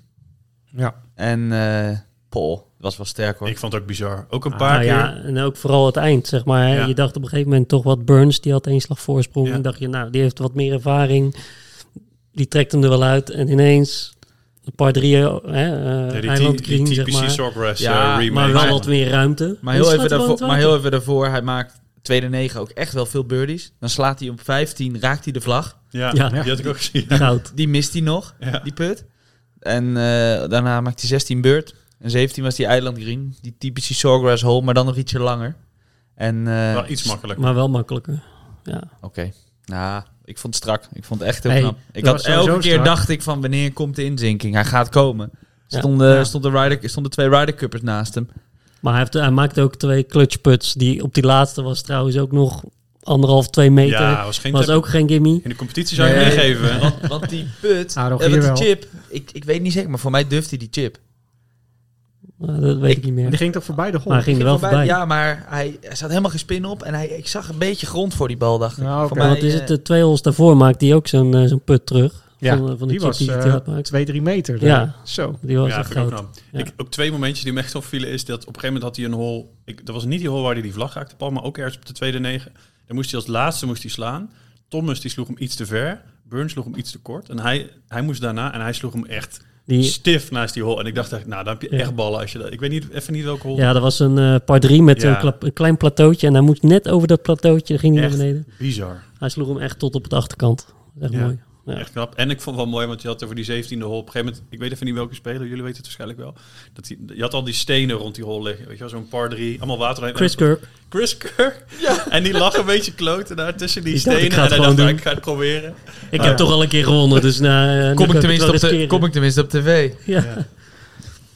S3: Ja.
S5: En eh, Paul. Dat was wel sterk hoor.
S1: Ik vond het ook bizar. Ook een
S3: Ah,
S1: paar
S4: Nou
S1: keer.
S4: ja, en ook vooral het eind, zeg maar. hè.
S1: Ja.
S4: Je dacht op een gegeven moment toch wat Burns, die had één slag voorsprong.
S1: Ja.
S4: En dacht je, nou, die heeft wat meer ervaring. Die trekt hem er wel uit. En ineens, een paar drieën, hè, eh,
S1: Ja, die,
S4: Eiland
S1: ty- die
S4: Green, zeg
S1: typische
S4: maar.
S1: Sawgrass
S5: Ja,
S1: eh, remake.
S4: maar wel
S5: Maar-
S4: wat meer ruimte.
S5: Maar
S4: En
S5: heel,
S4: slaat hij wel
S5: even daarvoor,
S4: in
S5: maar
S4: het
S5: heel
S4: water.
S5: even daarvoor, hij maakt tweede negen ook echt wel veel birdies. Dan slaat hij op 15, raakt hij de vlag.
S1: Ja,
S4: Ja.
S1: die had ik ook gezien.
S4: Goud.
S5: Die mist hij nog,
S1: Ja.
S5: die put. En eh, daarna maakt hij 16 beurt. En 17 was die Island Green. Die typische Sawgrass hole, maar dan nog ietsje langer. En, eh,
S1: Wel iets makkelijker.
S4: Maar wel makkelijker. Ja.
S5: Oké. Nou, ik vond het strak. Ik vond het echt heel
S4: Hey,
S5: knap. Ik
S3: dat
S5: had
S3: was sowieso
S5: elke keer
S3: strak.
S5: dacht ik van wanneer komt de inzinking? Hij gaat komen.
S4: Ja.
S5: Stonden,
S3: Ja.
S5: Stonden, Ryder, stonden twee Ryder Cuppers naast hem.
S4: Maar hij, heeft, hij maakte ook twee clutch puts. Die, op die laatste was trouwens ook nog anderhalf, twee meter.
S1: Ja, was geen
S4: was
S1: tip.
S4: ook geen gimmie.
S1: In de competitie zou je
S5: Nee.
S1: hem meegeven.
S5: Want, want die put,
S3: Ah,
S5: eh,
S3: Rogier
S5: want die
S3: wel.
S5: chip, ik, ik weet niet zeker, maar voor mij durft hij die chip.
S4: Nou, dat weet ik, niet meer.
S3: Die ging toch voorbij de golf?
S4: Maar hij ging er wel
S5: Ging
S4: voorbij.
S5: Ja, maar hij, er zat helemaal geen spin op en hij, ik zag een beetje grond voor die bal, dacht ik.
S3: Ja, oké.
S5: Voor
S4: Ja,
S5: mij,
S4: wat is
S5: eh,
S4: het? De twee holes daarvoor maakte hij ook zo'n eh, zo'n put terug.
S3: Ja,
S4: van, eh, van de
S3: die
S4: chip
S3: was
S4: die hij had
S3: eh
S4: gemaakt.
S3: twee, drie meter.
S4: Ja.
S3: Zo.
S4: Die was
S1: Ja,
S4: echt
S1: vind ik ook
S4: goud.
S1: knap.
S4: Ja.
S1: Ik, ook twee momentjes die me echt opvielen is dat op een gegeven moment had hij een hole. Ik, dat was niet die hole waar hij die vlag raakte, Paul, maar ook ergens op de tweede negen. Dan moest hij als laatste moest hij slaan. Thomas die sloeg hem iets te ver. Burns sloeg hem iets te kort. En hij, hij moest daarna en hij sloeg hem echt
S4: Die,
S1: stif naast die hole. En ik dacht echt, nou, dan heb je
S4: Ja.
S1: echt ballen als je dat... Ik weet niet, even niet welke hole.
S4: ja, dat was een eh par 3 met
S1: Ja.
S4: een, klap- een klein plateautje. En hij moest net over dat plateautje, ging hij
S1: Echt.
S4: naar beneden.
S1: Bizar.
S4: Hij sloeg hem echt tot op het achterkant. Echt
S1: Ja.
S4: mooi. Ja.
S1: Echt knap. En ik vond het wel mooi, want je had over die 17e hol. Op een gegeven moment, ik weet even niet welke speler, jullie weten het waarschijnlijk wel. Dat die, je had al die stenen rond die hol liggen. Weet je wel, zo'n par 3, allemaal water. heen.
S4: Chris Kirk.
S1: Chris Kirk. En die lag een beetje kloten daar tussen die
S4: Die dacht,
S1: stenen.
S4: ik ga het
S1: en hij dacht,
S4: gewoon
S1: ik ga het proberen.
S4: Ik heb toch al een keer gewonnen, dus nou, eh, nu
S5: kom,
S4: ga
S5: ik
S4: het
S5: tenminste
S4: wel
S5: op de,
S4: riskeren.
S5: kom ik tenminste op tv.
S4: Ja.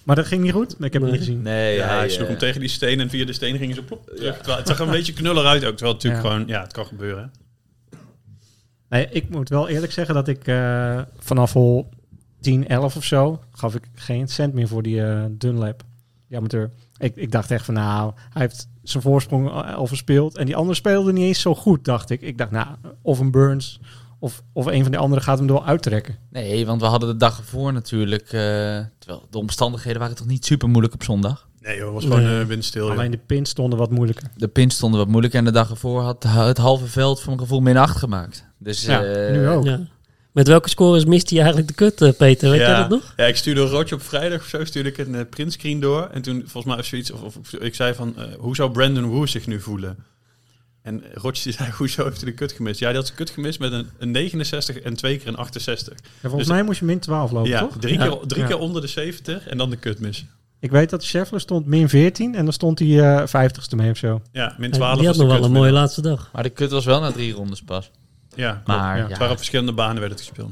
S3: Maar dat ging niet goed? Nee, ik heb het
S4: Nee.
S3: niet gezien.
S5: Nee,
S1: Ja, hij sloeg
S5: eh,
S1: hem tegen die stenen en via de stenen ging hij zo plop terug. Terwijl Het zag er een beetje knuller uit ook. Terwijl het natuurlijk
S3: Ja.
S1: gewoon, ja, het kan gebeuren.
S3: Nee, ik moet wel eerlijk zeggen dat ik eh, vanaf hol 10, 11 of zo gaf ik geen cent meer voor die eh, Dunlap. Die amateur. Ik, ik dacht echt van nou, hij heeft zijn voorsprong al, al verspeeld. En die andere speelde niet eens zo goed, dacht ik. Ik dacht nou, of een Burns of, of een van de anderen gaat hem door uittrekken.
S5: Nee, want we hadden de dag ervoor natuurlijk... eh, terwijl de omstandigheden waren toch niet super moeilijk op zondag.
S1: Nee joh, het was
S4: Nee.
S1: gewoon eh, windstil. joh.
S3: Alleen de pins stonden wat moeilijker.
S5: De pins stonden wat moeilijk en de dag ervoor had het halve veld voor mijn gevoel min 8 gemaakt. Dus,
S3: Ja,
S5: eh,
S3: nu ook.
S4: Ja. Met welke scores mist hij eigenlijk de kut, eh, Peter? Weet jij dat nog?
S1: Ja, ik stuurde Roodje op vrijdag of zo, stuurde ik een eh, printscreen door. En toen volgens mij of zoiets, of, of ik zei van, eh, hoe zou Brandon Woo zich nu voelen? En Roodje die zei, hoezo heeft hij de kut gemist? Ja, die had zijn kut gemist met een, een 69 en twee keer een 68.
S3: En volgens
S1: Dus-
S3: mij moest je min 12 lopen,
S1: ja,
S3: toch?
S1: drie,
S4: Oh, Ja.
S1: Keer, drie
S3: Ja.
S1: keer onder de 70 en dan de kut missen.
S3: Ik weet dat Scheffler stond min 14 en dan stond hij eh 50ste mee of zo.
S1: Ja, min
S4: Die
S1: 12
S4: had
S1: was
S4: nog
S1: de
S4: wel
S1: kut
S4: een mooie
S1: min-
S4: laatste dag.
S5: Maar de kut was wel na drie rondes pas.
S1: Ja, klopt.
S5: Maar
S3: ja.
S5: ja,
S1: Het waren op verschillende banen werd het gespeeld.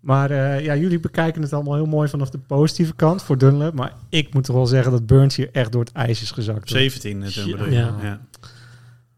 S3: Maar eh, ja, jullie bekijken het allemaal heel mooi vanaf de positieve kant voor Dunlap. Maar ik moet toch wel zeggen dat Burns hier echt door het ijs is gezakt. hoor.
S1: 17 toen eh, bedoel je.
S4: Ja.
S1: Ja. ja.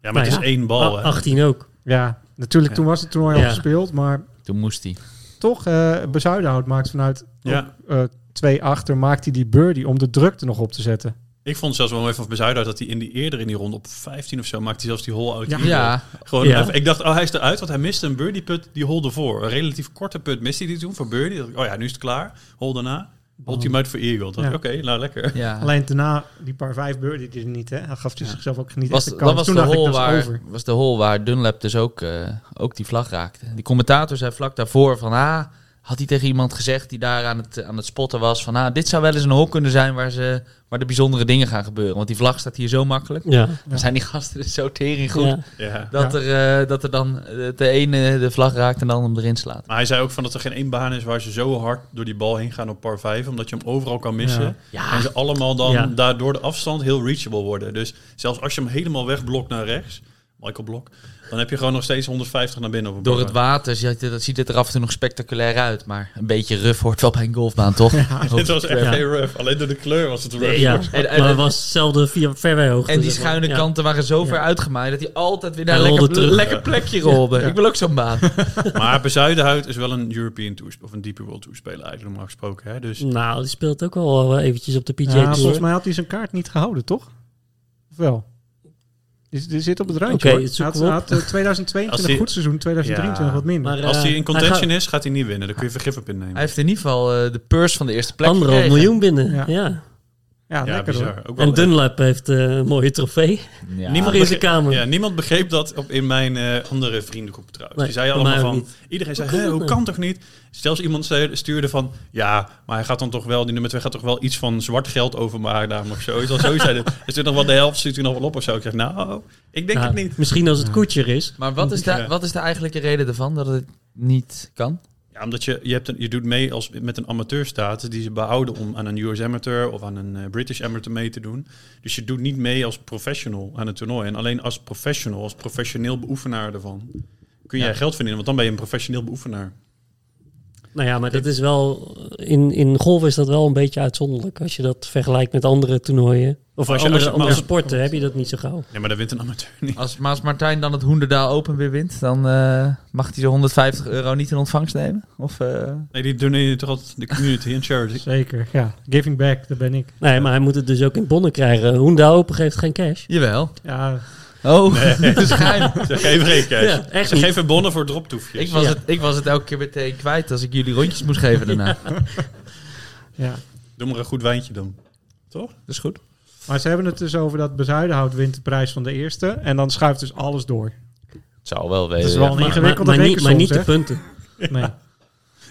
S1: maar
S4: Nou
S1: het is
S4: ja.
S1: één bal.
S4: Ah,
S1: Oh, hè.
S4: 18 ook.
S3: Ja, natuurlijk toen was het toernooi al
S4: Ja.
S3: gespeeld. Maar
S5: toen moest hij.
S3: toch, eh Bezuidenhout maakt vanuit
S1: Ja.
S3: ook, eh, twee achter, maakt hij die birdie om de drukte nog op te zetten.
S1: Ik vond zelfs wel even van Bezuidenhout dat hij in die, eerder in die ronde op 15 of zo maakte hij zelfs die hole uit.
S3: Ja.
S1: die-
S5: Ja,
S1: Gewoon
S4: Ja.
S1: even- ik dacht, oh hij is eruit, want hij miste een birdie put, die hole ervoor. Een relatief korte put miste hij die toen voor birdie. Dacht ik, Oh ja, nu is het klaar. Hole daarna. Holt hij hem uit voor eagle. Dacht ik,
S3: Ja.
S1: Oké, nou lekker.
S5: ja.
S3: Alleen daarna, die paar vijf birdie die er niet, hè. Hij gaf dus zichzelf ook niet
S5: was,
S3: echt de
S5: dat
S3: kans.
S5: was
S3: Toen
S5: de,
S3: dacht ik,
S5: hole
S3: dat is
S5: waar,
S3: over.
S5: was de hole waar Dunlap dus ook, eh, ook die vlag raakte. Die commentator zei vlak daarvoor van... Ah, had hij tegen iemand gezegd die daar aan het, aan het spotten was... van ah, dit zou wel eens een hole kunnen zijn waar, ze, waar de bijzondere dingen gaan gebeuren. Want die vlag staat hier zo makkelijk.
S4: Ja.
S5: Dan zijn die gasten dus zo tering goed...
S4: Ja.
S1: Ja.
S5: Dat, er, eh, dat er dan eh, de ene de vlag raakt en de ander hem erin slaat.
S1: Maar hij zei ook van dat er geen één baan is waar ze zo hard door die bal heen gaan op par 5, omdat je hem overal kan missen.
S3: Ja.
S5: Ja.
S1: En ze allemaal dan
S4: Ja.
S1: daardoor de afstand heel reachable worden. Dus zelfs als je hem helemaal wegblokt naar rechts, Michael Blok, dan heb je gewoon nog steeds 150 naar binnen op een
S5: Door
S1: par
S5: het
S1: vijf.
S5: water ziet het, ziet het er af en toe nog spectaculair uit. Maar een beetje ruf hoort wel bij een golfbaan, toch?
S1: Dit was echt
S4: Ja.
S1: geen rough. Alleen door de kleur was het rough.
S4: Ja,
S5: En- en-
S4: maar het was hetzelfde via verwijhoogte.
S5: En die
S4: zeg maar.
S5: schuine
S4: Ja.
S5: kanten waren zo ver
S4: Ja.
S5: uitgemaaid... dat hij altijd weer naar
S4: Hij
S5: een lekker,
S4: rolde terug.
S5: lekker plekje rolde. Ik wil ook zo'n baan.
S1: Maar Bezuidenhout is wel een European Tour of een DP World Tour speler eigenlijk normaal gesproken. Hè? Dus
S4: Nou, die speelt ook al eventjes op de PGA
S3: Ja,
S4: Tour.
S3: volgens mij had hij zijn kaart niet gehouden, toch? Of wel? Die, die zit op het randje.
S4: Oké,
S3: hoor.
S4: het
S3: hij
S4: zoek
S3: had,
S4: hem op.
S3: hij had, eh, 2022
S1: Als die-
S3: goed seizoen, 2023
S1: Ja.
S3: wat minder.
S4: Maar, eh,
S1: Als hij in
S4: hij
S1: contention
S4: gaat
S1: is, gaat hij niet winnen. Daar kun je vergif op innemen.
S5: Hij heeft in ieder geval eh, de purse van de eerste plek
S4: Anderhalf
S5: gekregen.
S4: miljoen binnen.
S3: Ja.
S4: Ja.
S3: ja,
S1: ja,
S3: lekker hoor.
S1: bizar. Ook wel
S4: En
S1: echt.
S4: Dunlap heeft eh, een mooie trofee.
S5: Ja.
S1: Niemand
S4: in
S1: begreep-
S4: zijn kamer.
S1: Ja, niemand begreep dat op, in mijn eh, andere vriendengroep trouwens.
S4: Nee,
S1: Die zei
S4: bij
S1: allemaal
S4: mij ook
S1: van,
S4: niet.
S1: iedereen zei,
S4: Hoe kan
S1: "Hè,
S4: dat
S1: hoe
S4: nou?"
S1: kan toch niet? Zelfs iemand zei- stuurde van, ja, maar hij gaat dan toch wel, die nummer 2 gaat toch wel iets van zwart geld overmaken daarom of zo. Is al zo zeiden. Er zit nog wel de helft, zit u nog wel op of zo. Ik zeg, nou, ik denk
S4: Nou,
S1: het niet.
S4: Misschien als het koetje is.
S5: Maar wat is, de,
S1: Ja.
S5: wat is de eigenlijke reden ervan dat het niet kan?
S1: Ja, omdat je, je, hebt een, je doet mee als, met een amateurstatus die ze behouden om aan een US amateur of aan een eh, British amateur mee te doen. Dus je doet niet mee als professional aan het toernooi. En alleen als professional, als professioneel beoefenaar ervan, kun jij
S5: Ja.
S1: geld verdienen. Want dan ben je een professioneel beoefenaar.
S4: Nou ja, maar dat is wel. In, in golf is dat wel een beetje uitzonderlijk. Als je dat vergelijkt met andere toernooien.
S1: Als
S4: Of
S1: je-
S4: andere,
S1: als je- maar
S4: andere
S1: als-
S4: sporten heb je dat niet zo gauw.
S1: Nee, maar dat wint een amateur niet.
S5: Als, maar als Martijn dan het Hoenderdaal Open weer wint, dan eh, mag hij zo'n 150 euro niet in ontvangst nemen? Of, eh,
S1: Nee, die doneren toch altijd de community en charity.
S3: Zeker, ja. Giving back, daar ben ik.
S4: Nee, maar hij moet het dus ook in bonnen krijgen. Hoenda open geeft geen cash.
S5: Jawel.
S3: Ja,
S5: Oh, het is geheim.
S1: Ze geven geen cash.
S4: Ja, echt
S1: Ze
S4: niet.
S1: geven bonnen voor droptoefjes.
S5: Ik was,
S4: Ja.
S5: het, ik was het elke keer meteen kwijt als ik jullie rondjes moest geven daarna.
S3: ja.
S1: Doe maar een goed wijntje dan.
S5: Dat is goed.
S3: Maar ze hebben het dus over dat Bezuidenhout wint de prijs van de eerste. En dan schuift dus alles door.
S5: Het zou wel
S3: Dat is
S5: weten.
S3: wel een
S4: Maar, maar,
S3: ingewikkelde
S4: maar niet, maar
S3: rekensom,
S4: niet de
S3: zeg.
S4: punten.
S3: Nee.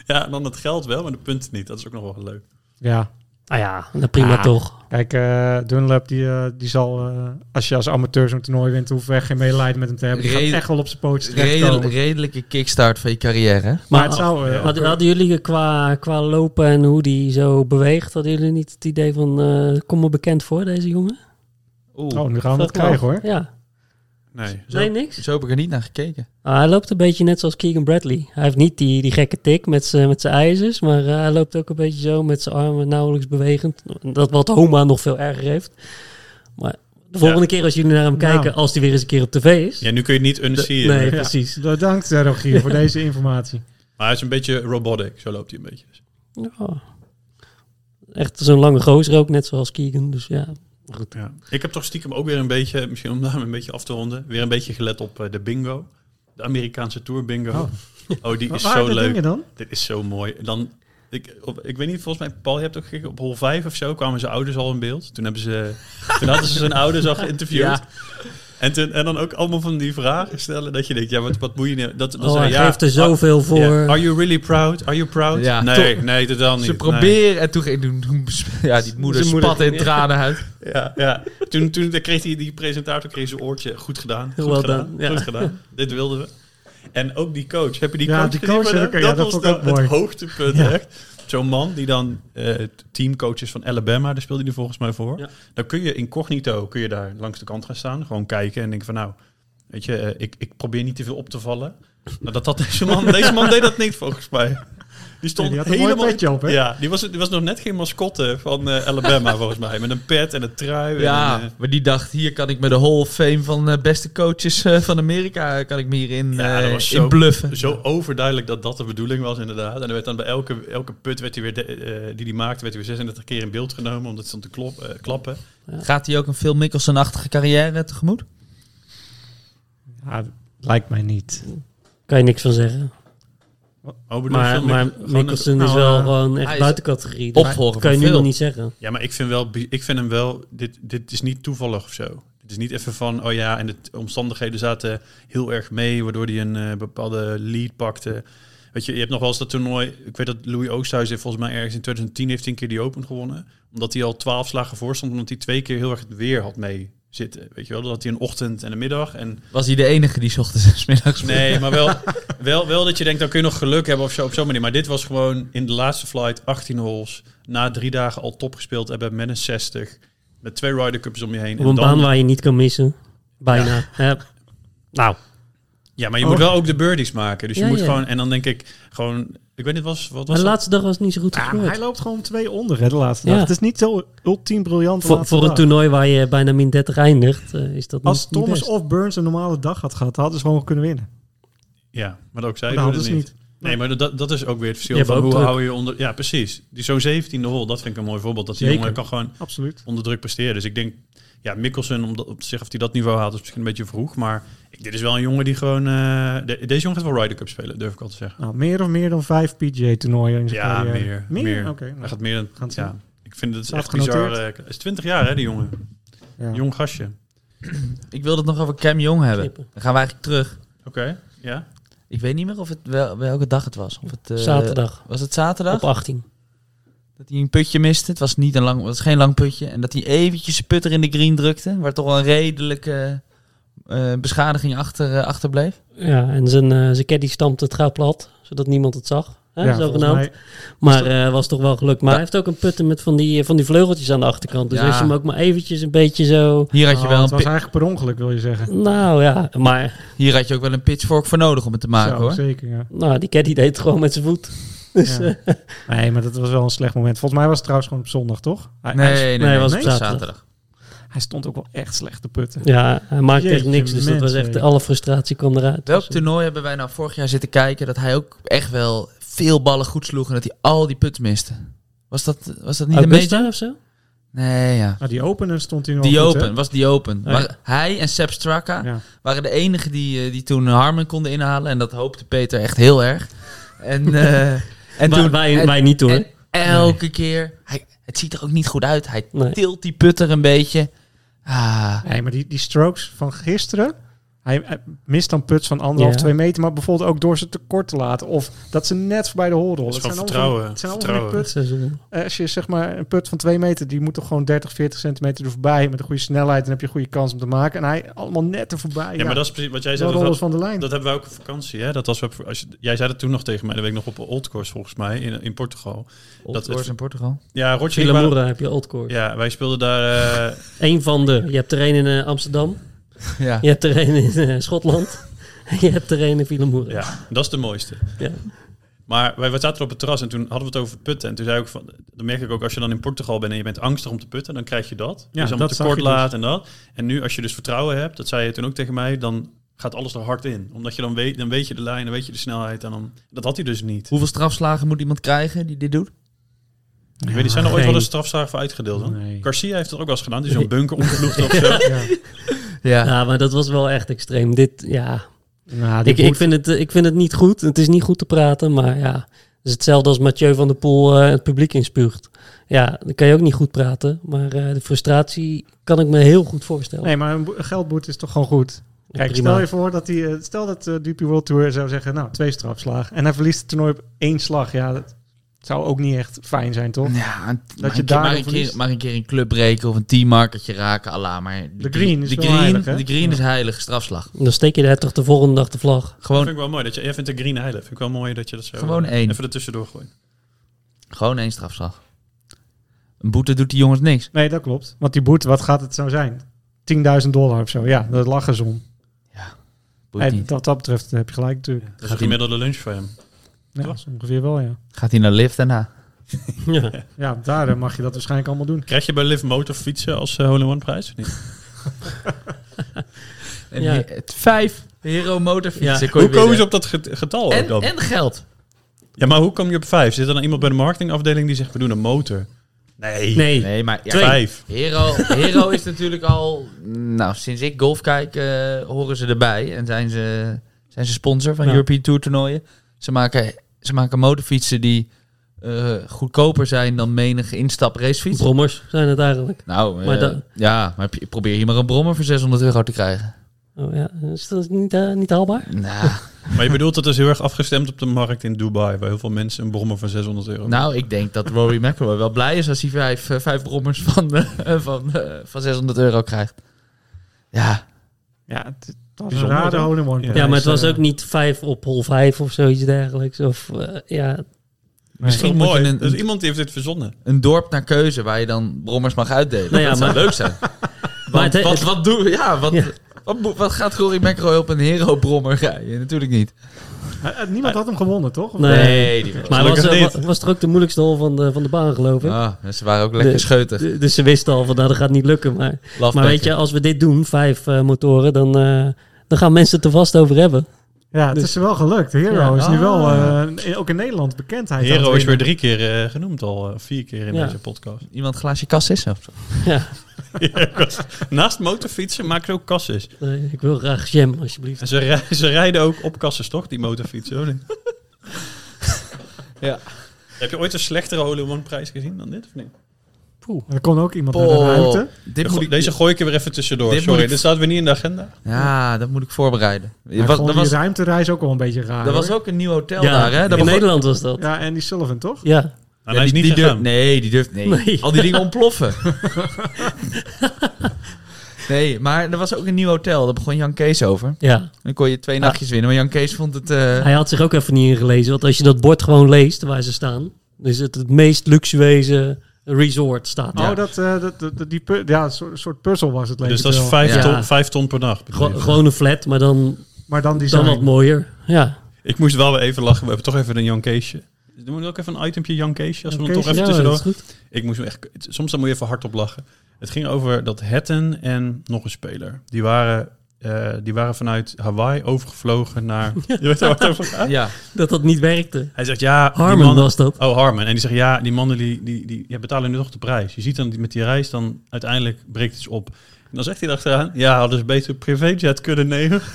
S1: Ja, en dan het geld wel, maar de punten niet. Dat is ook nog wel leuk.
S3: Ja.
S4: Nou ja, nou prima
S3: Ah.
S4: toch.
S3: Kijk, eh, Dunlap die, eh, die zal, eh, als je als amateur zo'n toernooi wint, hoef je echt geen medelijden met hem te hebben. Die gaat
S5: Reden-
S3: echt wel op zijn pootjes terechtkomen.
S5: Redel- redelijke kickstart van je carrière. hè?
S3: Maar het zou... eh,
S1: Ja.
S4: Hadden, hadden jullie qua, qua lopen en hoe die zo beweegt, hadden jullie niet het idee van, eh kom me bekend voor deze jongen?
S5: Oeh,
S3: Oh, nu gaan we dat
S4: Valt me
S3: krijgen
S4: op.
S3: hoor.
S4: Ja.
S1: Nee.
S5: Zo.
S4: Nee, niks.
S5: zo heb ik er niet naar gekeken.
S4: Ah, hij loopt een beetje net zoals Keegan Bradley. Hij heeft niet die, die gekke tik met zijn met zijn ijzers, maar eh, hij loopt ook een beetje zo met zijn armen nauwelijks bewegend. Dat wat Homa nog veel erger heeft. Maar de volgende keer als jullie naar hem
S3: Nou.
S4: kijken, als hij weer eens een keer op tv is.
S1: Ja, nu kun je het niet
S4: de-
S1: unseen.
S4: nee,
S3: Ja.
S4: precies.
S3: Bedankt eh, Rogier voor deze informatie.
S1: Maar hij is een beetje robotic. Zo loopt hij een beetje.
S4: Ja. Oh. Echt zo'n lange gozer ook, net zoals Keegan. Dus ja,
S1: Ja. Ik heb toch stiekem ook weer een beetje, misschien om daar een beetje af te ronden, weer een beetje gelet op eh, de bingo. De Amerikaanse Tour bingo.
S3: Oh.
S1: Oh, die
S3: Wat
S1: is
S3: waren
S1: zo
S3: de
S1: leuk.
S3: dingen dan?
S1: Dit is zo mooi. En Dan, ik, op- ik weet niet, volgens mij, Paul, je hebt ook gekeken, op hol 5 of zo kwamen zijn ouders al in beeld. Toen, hebben ze, toen hadden ze zijn ouders al geïnterviewd.
S5: Ja.
S1: En, toen, en dan ook allemaal van die vragen stellen dat je denkt, ja, wat, wat moet je nou? Dat, dat
S4: oh, hij
S1: ja, Ah,
S4: geeft er zoveel voor.
S1: ja, Are you really proud? Are you proud?
S5: Ja.
S1: nee, nee, totaal niet.
S5: Ze
S1: Nee.
S5: proberen en toen ging toen- toen- ja, die moeder
S4: Zijn
S5: spat
S4: moeder
S5: in
S4: ging-
S5: tranen uit.
S1: Ja, ja. Toen, toen kreeg hij die presentator kreeg zijn oortje. Goed gedaan. Goed
S4: Well done,
S1: gedaan.
S4: ja.
S1: Goed gedaan. Dit wilden we. En ook die coach. Heb je die
S3: Ja,
S1: coach
S3: die
S1: gezien
S3: coach
S1: van hem?
S3: heb ik- ja, dat
S1: was
S3: vond ik ook
S1: dan
S3: mooi.
S1: het hoogtepunt,
S3: Ja.
S1: echt. Zo'n man die dan eh, teamcoach is van Alabama, daar speelde hij volgens mij voor.
S4: Ja.
S1: Dan kun je incognito kun je daar langs de kant gaan staan. Gewoon kijken en denken van nou, weet je, eh, ik, ik probeer niet te veel op te vallen. Nou, dat had deze man. Deze man deed dat niet volgens mij. Die stond
S3: Ja, die had een mooi
S1: helemaal...
S3: petje op, hè?
S1: Ja, die was, die was nog net geen mascotte van eh, Alabama volgens mij. Met een pet en een trui. En,
S5: Ja,
S1: eh,
S5: maar die dacht, hier kan ik met de Hall of Fame van eh, beste coaches eh, van Amerika, kan ik me hierin
S1: Ja, dat
S5: eh,
S1: was
S5: in
S1: zo- Dus-
S5: bluffen.
S1: Zo overduidelijk dat dat de bedoeling was, inderdaad. En er werd dan bij elke, elke put werd hij weer de- eh, die hij maakte, werd hij weer 36 keer in beeld genomen, omdat ze stond te klop, eh, klappen.
S5: Gaat hij ook een Phil Mickelson-achtige carrière tegemoet?
S3: Ja, lijkt mij niet.
S4: Kan je niks van zeggen.
S1: Oh, bedoel,
S4: Maar,
S1: Phil
S4: maar
S1: Mickelson- gewoon
S4: Mickelson
S3: nou,
S4: is wel
S3: eh,
S4: gewoon
S5: hij
S4: echt
S5: is
S4: buiten categorie. Dat kan
S5: Opvolger van
S4: je nu
S5: Phil.
S4: nog niet zeggen.
S1: een- ja, maar ik vind, wel, bi- ik vind hem wel, dit, dit is niet toevallig of zo. Het is niet even van, oh ja, en de t- omstandigheden zaten heel erg mee, waardoor hij een eh, bepaalde lead pakte. Weet je, je hebt nog wel eens dat toernooi. Ik weet dat Louis Oosthuis heeft volgens mij ergens in 2010 heeft hij een keer die Open gewonnen. Omdat hij al twaalf slagen voor stond, omdat hij twee keer heel erg het weer had mee zitten. Weet je wel, dat had hij een ochtend en een middag. En
S5: Was hij de enige die 's ochtends en 's middags
S1: nee, maar wel, wel, wel dat je denkt, dan kun je nog geluk hebben of zo op zo'n manier. Maar dit was gewoon in de laatste flight 18 holes, na drie dagen al top gespeeld hebben met een 60. Met twee Ryder Cups om je heen.
S4: Op een
S1: en dan-
S4: baan waar je niet kan missen. Bijna. Hè? Nou,
S1: Ja, maar je
S3: Oh.
S1: moet wel ook de birdies maken. Dus je
S4: Ja,
S1: moet
S4: ja.
S1: gewoon... En dan denk ik gewoon... Ik weet niet, was, wat was
S4: maar de
S1: dat?
S4: laatste dag was het niet zo goed
S3: Ja, maar hij
S4: gescoord.
S3: loopt gewoon twee onder hè, de laatste
S4: Ja.
S3: dag. Het is niet heel ultiem briljant de
S4: Voor,
S3: laatste
S4: voor een
S3: dag.
S4: toernooi waar je bijna min 30 eindigt, eh, is dat
S3: Als
S4: niet, niet
S3: Thomas
S4: best.
S3: of Burns een normale dag had gehad, hadden ze gewoon kunnen winnen.
S1: Ja, maar ook zij
S4: Oh,
S3: Maar
S1: doen
S3: dat
S1: het
S3: hadden
S1: niet.
S3: ze niet.
S1: Nee, maar dat, dat is ook weer het
S4: Je
S1: verschil
S4: hebt
S1: van
S4: ook
S1: hoe
S4: druk.
S1: hou je onder... Ja, precies. Die Zo'n 17e hol, dat vind ik een mooi voorbeeld. Dat die
S3: Zeker.
S1: jongen kan gewoon
S3: Absoluut.
S1: onder druk presteren. Dus ik denk, ja, Mikkelsen, om, dat- op zich of hij dat niveau haalt, is misschien een beetje vroeg. Maar ik- dit is wel een jongen die gewoon... eh, de- deze jongen gaat wel Ryder Cup spelen, durf ik al te zeggen.
S3: Nou, meer of meer dan vijf PGA-toernooien in zijn
S1: Ja,
S3: carrière?
S1: meer.
S3: Meer?
S1: meer.
S3: Oké.
S1: Hij
S3: nou,
S1: gaat meer dan...
S3: Gaan het
S1: ja.
S3: zien.
S1: Ik vind het
S3: Staat
S1: echt bizar. eh,
S3: genoteerd.
S1: Hij is 20 jaar, hè, die jongen.
S3: ja.
S1: Jong gastje.
S5: Ik wil het nog over Cam Jong hebben.
S4: Knippen.
S5: Dan gaan we eigenlijk terug.
S1: Oké, ja.
S5: Ik weet niet meer of het wel, welke dag het was. Of het, eh,
S4: Zaterdag
S5: Was het
S3: Eh,
S5: zaterdag?
S4: op 18.
S5: Dat hij een putje miste. Het was, niet een lang, het was geen lang putje. En dat hij eventjes zijn putter in de green drukte. Waar toch wel een redelijke eh, beschadiging achter, eh, achterbleef.
S4: Ja, en zijn, eh, zijn caddy stampte het gauw plat, zodat niemand het zag. Hè,
S3: Ja, volgens
S4: zogenaamd.
S3: mij-
S4: Maar eh, was toch wel gelukt. Maar
S5: Ja.
S4: hij heeft ook een putten met van die, eh, van die vleugeltjes aan de achterkant. Dus
S5: Ja.
S4: als je hem ook maar eventjes een beetje zo...
S5: Hier had je,
S3: Oh,
S5: wel
S3: het
S5: een,
S3: was
S5: pi-
S3: eigenlijk per ongeluk, wil je zeggen.
S4: Nou ja, maar
S5: hier had je ook wel een pitchfork voor nodig om het te maken
S3: Zo,
S5: hoor.
S3: Zeker, ja.
S4: nou, die caddy deed het gewoon met zijn voet. Dus,
S3: Ja.
S4: eh,
S3: Nee, maar dat was wel een slecht moment. Volgens mij was het trouwens gewoon op zondag, toch? Hij,
S5: Nee,
S3: hij,
S5: nee, nee,
S4: nee,
S5: het
S4: was
S5: was
S4: op
S5: zaterdag.
S4: zaterdag.
S3: hij stond ook wel echt slecht te putten.
S4: ja, hij maakte echt
S3: Jeetje,
S4: niks. Dus dat was
S3: mens,
S4: echt...
S3: zeg.
S4: Alle frustratie kwam eruit.
S5: Welk
S4: Dus,
S5: toernooi hebben wij nou vorig jaar zitten kijken dat hij ook echt wel veel ballen goed sloeg en dat hij al die putten miste? Was dat, was dat niet
S4: Augusta
S5: een
S4: of zo?
S5: beetje? Nee, ja.
S3: Nou, die opener stond hij nog
S5: Die
S3: goed, hè? Oh,
S5: open, was die open.
S3: ja.
S5: Maar hij en Seb Straka
S3: Ja.
S5: waren de enigen die, eh, die toen Harmon konden inhalen. En dat hoopte Peter echt heel erg. En, eh, en
S4: Maar
S5: toen...
S4: wij,
S5: en-
S4: wij niet hoor.
S5: en elke keer... Hij, het ziet er ook niet goed uit. Hij
S4: Nee.
S5: tilt die putter een beetje. Ah,
S3: Nee, maar die, die strokes van gisteren. Hij hij mist dan puts van anderhalf,
S4: Ja.
S3: twee meter. Maar bijvoorbeeld ook door ze tekort te laten. Of dat ze net bij de hole rollen.
S1: Dat is
S3: Het
S1: gewoon
S3: allemaal
S1: vertrouwen.
S3: van- Het zijn allemaal van die
S1: Vertrouwen.
S4: Dat
S3: puts.
S4: is wel zonde.
S3: Eh, Als je zeg maar een put van twee meter. Die moet toch gewoon 30, 40 centimeter er voorbij. Met een goede snelheid. Dan heb je een goede kans om te maken. En hij allemaal net er voorbij.
S1: Ja, maar dat is precies wat jij
S3: de
S1: zei. Dat,
S3: rollers
S1: dat,
S3: van de lijn.
S1: dat hebben wij ook op vakantie. Hè? Dat was, op- als je, jij zei dat toen nog tegen mij. Dat weet ik nog op Old Course volgens mij in, in Portugal.
S5: Old
S1: het-
S5: Wars in Portugal.
S1: Ja, Roger. en ik waren-
S4: Filamura heb je oldcore.
S1: Ja, wij speelden daar... eh,
S4: Eén van de. Je hebt er één in eh, Amsterdam.
S5: Ja.
S4: Je hebt er één in eh, Schotland. je hebt er één in Filamura.
S1: Ja, dat is de mooiste.
S4: Ja.
S1: Maar wij wij zaten op het terras en toen hadden we het over putten. En toen zei ik van, dan merk ik ook als je dan in Portugal bent en je bent angstig om te putten, dan krijg je dat.
S3: Ja,
S1: dus dan
S3: dat
S1: moet je
S3: zag
S1: kort
S3: je dus.
S1: laat en dat. En nu als je dus vertrouwen hebt, dat zei je toen ook tegen mij, dan gaat alles er hard in. Omdat je dan weet, dan weet je de lijn, dan weet je de snelheid. En dan, dat had hij dus niet.
S5: Hoeveel strafslagen moet iemand krijgen die dit doet?
S1: Ik weet niet, zijn er ooit
S4: geen-
S1: wel eens strafzagen voor uitgedeeld? hè?
S3: Nee.
S1: Garcia heeft dat ook wel eens gedaan. Die is zo'n bunker omgevloegd of zo.
S3: Ja.
S5: Ja.
S4: Ja, maar dat was wel echt extreem. Dit, ja,
S3: Nou, die
S4: ik, ik,
S3: moet-
S4: vind het, eh, ik vind het niet goed. Het is niet goed te praten, maar ja. Het is hetzelfde als Mathieu van der Poel eh, het publiek inspuugt. Ja, dan kan je ook niet goed praten. Maar eh, de frustratie kan ik me heel goed voorstellen.
S3: Nee, maar een bo- een geldboete is toch gewoon goed. Kijk,
S4: Prima.
S3: stel je voor dat hij, eh, stel dat eh DP World Tour zou zeggen, nou, twee strafslagen. En hij verliest het toernooi op één slag. Ja, dat zou ook niet echt fijn zijn, toch?
S5: Ja, en
S3: je
S5: maar, een keer,
S3: daarom
S5: maar, een keer,
S3: verliest.
S5: maar een keer een club breken of een teammarkertje raken, ala. Maar
S3: De green is
S5: de
S3: wel
S5: green,
S3: heilig, hè?
S5: De green
S3: Ja.
S5: is heilig, strafslag.
S4: Dan steek je daar toch de volgende dag de vlag.
S1: Dat
S5: Gewoon,
S1: vind ik wel mooi. Dat je, jij vindt de green heilig. Vind ik wel mooi dat je dat zo... eh,
S5: Gewoon één.
S1: Even ertussendoor gooit.
S5: gewoon één strafslag. Een boete doet die jongens niks.
S3: Nee, dat klopt. Want die boete, wat gaat het zo zijn? 10.000 dollar of zo. Ja, dat lachen ze om.
S5: Boeit
S3: Hey,
S5: niet.
S3: dat, dat betreft eh, heb je gelijk natuurlijk.
S1: Dat is een
S5: hij-
S1: gemiddelde lunch voor hem.
S3: Ja,
S1: Toch?
S3: dat is ongeveer wel, ja.
S5: Gaat hij naar lift daarna?
S4: Ja.
S3: Ja, daar eh, mag je dat waarschijnlijk allemaal doen.
S1: Krijg je bij Liv Motor fietsen als eh, hole-in-one prijs? of niet?
S5: En
S4: Ja.
S5: he- het vijf Hero motorfietsen.
S4: Ja.
S5: kon je
S1: Hoe komen ze
S5: winnen.
S1: op dat get- getal ook dan?
S5: En, en geld.
S1: Ja, maar hoe kom je op vijf? Zit er dan iemand bij de marketingafdeling die zegt, we doen een motor? Nee,
S4: Nee.
S5: Nee, maar ja,
S1: vijf.
S5: Hero, Hero is natuurlijk al... Nou, sinds ik golf kijk eh, horen ze erbij. En zijn ze, zijn ze sponsor van
S4: Ja.
S5: European Tour toernooien. Ze maken, ze maken motorfietsen die eh, goedkoper zijn dan menige instap racefiets.
S4: Brommers zijn het eigenlijk.
S5: nou, eh,
S4: Maar dat-
S5: ja, maar p- probeer hier maar een brommer voor 600 euro te krijgen.
S4: Oh, ja. Is dat niet, eh, niet haalbaar?
S5: Nou,
S1: Maar je bedoelt, dat is heel erg afgestemd op de markt in Dubai, waar heel veel mensen een brommer van 600 euro
S5: nou ik denk dat Rory McIlroy wel blij is als hij vijf, eh, vijf brommers van, eh, van, eh, van 600 euro krijgt. Ja,
S3: Ja, het, dat was een
S1: Bijzonder,
S3: rare
S1: hè?
S3: hole-in-one.
S1: Ja,
S4: Ja, maar het was
S3: eh,
S4: ook niet vijf op hol vijf of zoiets dergelijks. Of eh, ja,
S5: misschien moet
S1: mooi.
S5: je een,
S1: Dus
S5: een,
S1: iemand die heeft dit verzonnen.
S5: een dorp naar keuze waar je dan brommers mag uitdelen.
S4: Nou ja,
S5: dat zou leuk zijn.
S4: Maar
S5: Want
S4: het-
S5: wat,
S4: het-
S5: wat doen we? Ja, wat,
S4: Ja.
S5: Wat, moet- wat gaat Rory McIlroy op een hero-brommer rijden? Natuurlijk niet.
S3: eh, eh, Niemand had hem gewonnen, toch? Of-
S4: Nee.
S5: die was...
S4: maar was,
S1: Gelukkig
S4: was, was toch ook de moeilijkste hol van de, van de baan, geloof ik.
S5: Ah, ze waren ook lekker
S4: De-
S5: scheutig.
S4: D- Dus ze wisten al van, nou, dat gaat niet lukken. Maar,
S5: Love
S4: maar weet
S5: Becker.
S4: je, als we dit doen, vijf eh, motoren, dan, eh, dan gaan mensen het er vast over hebben.
S3: Ja, het
S4: Dus-
S3: is wel gelukt. Hero
S4: Ja.
S3: is nu wel,
S1: Ah.
S3: eh, in- ook in Nederland, bekendheid. aan
S1: Hero
S3: het
S1: is weer
S3: winnen.
S1: drie keer eh, genoemd al, eh, vier keer in
S4: Ja.
S1: deze podcast.
S5: Iemand een glaasje kas is of zo.
S4: Ja,
S1: Naast motorfietsen maken ze ook kasses.
S4: nee, Eh, ik wil graag jam, alsjeblieft.
S1: En ze, rij- ze rijden ook op kasses, toch, die motorfietsen? of niet?
S5: Ja.
S1: Heb je ooit een slechtere Hole prijs gezien dan dit? Of niet?
S3: En Er kon ook iemand naar de ruimte.
S5: Dit moet ik,
S1: Deze gooi ik er weer even tussendoor.
S5: Dit
S1: Sorry,
S5: moet ik-
S1: dit staat weer niet in de agenda.
S5: ja, dat moet ik voorbereiden.
S3: Maar
S5: Was-
S3: gewoon
S5: er
S3: die
S5: was,
S3: ruimtereis ook wel een beetje raar.
S5: er was
S3: hoor.
S5: ook een nieuw hotel
S4: Ja,
S5: daar, hè?
S4: in
S5: Dat begon-
S4: Nederland was dat. Ja.
S3: Ja, Andy Sullivan, toch?
S1: En
S5: Ja,
S1: hij is
S5: die-
S1: niet
S5: die
S1: gegaan.
S5: durft- Nee, die durft nee.
S4: Nee.
S5: Al die dingen ontploffen. nee, maar er was ook een nieuw hotel. Daar begon Jan Kees over. Dan kon je twee nachtjes winnen. Maar Jan Kees vond het... eh,
S4: Ah. Hij had zich ook even niet ingelezen. Want als je dat bord gewoon leest waar ze staan, dan is het het meest luxueuze resort staat.
S5: Ja.
S3: Oh, dat, eh, dat, dat- dat- die pu- ja, een soort, soort puzzel was het leek
S1: Dus
S3: het
S1: dat is
S3: wel.
S1: vijf,
S4: Ja.
S1: ton, vijf ton per dag.
S4: Gew- gewoon een flat, maar dan,
S3: Maar dan die
S4: dan wat mooier. Ja.
S1: Ik moest wel weer even lachen. We hebben toch even een Jan Keesje. Dan moet ook even een itempje Jan Keesje. Als we
S3: Jan
S1: hem toch even
S4: ja, dat
S1: tussendoor.
S4: is goed.
S1: Ik moest me echt, soms dan moet je even hard op lachen. Het ging over dat Hatton en nog een speler. Die waren, eh, die waren vanuit Hawaii overgevlogen naar... je weet waar het over gaat?
S5: ja.
S4: Dat dat niet werkte.
S1: Hij zegt, ja... die
S4: Harmon
S1: mannen-
S4: was dat.
S1: Oh, Harmon. En die zegt, ja, die mannen die, die, die ja, betalen nu toch de prijs. Je ziet dan die- met die reis dan uiteindelijk breekt iets op. En dan zegt hij erachteraan, ja, hadden ze beter een privéjet kunnen nemen.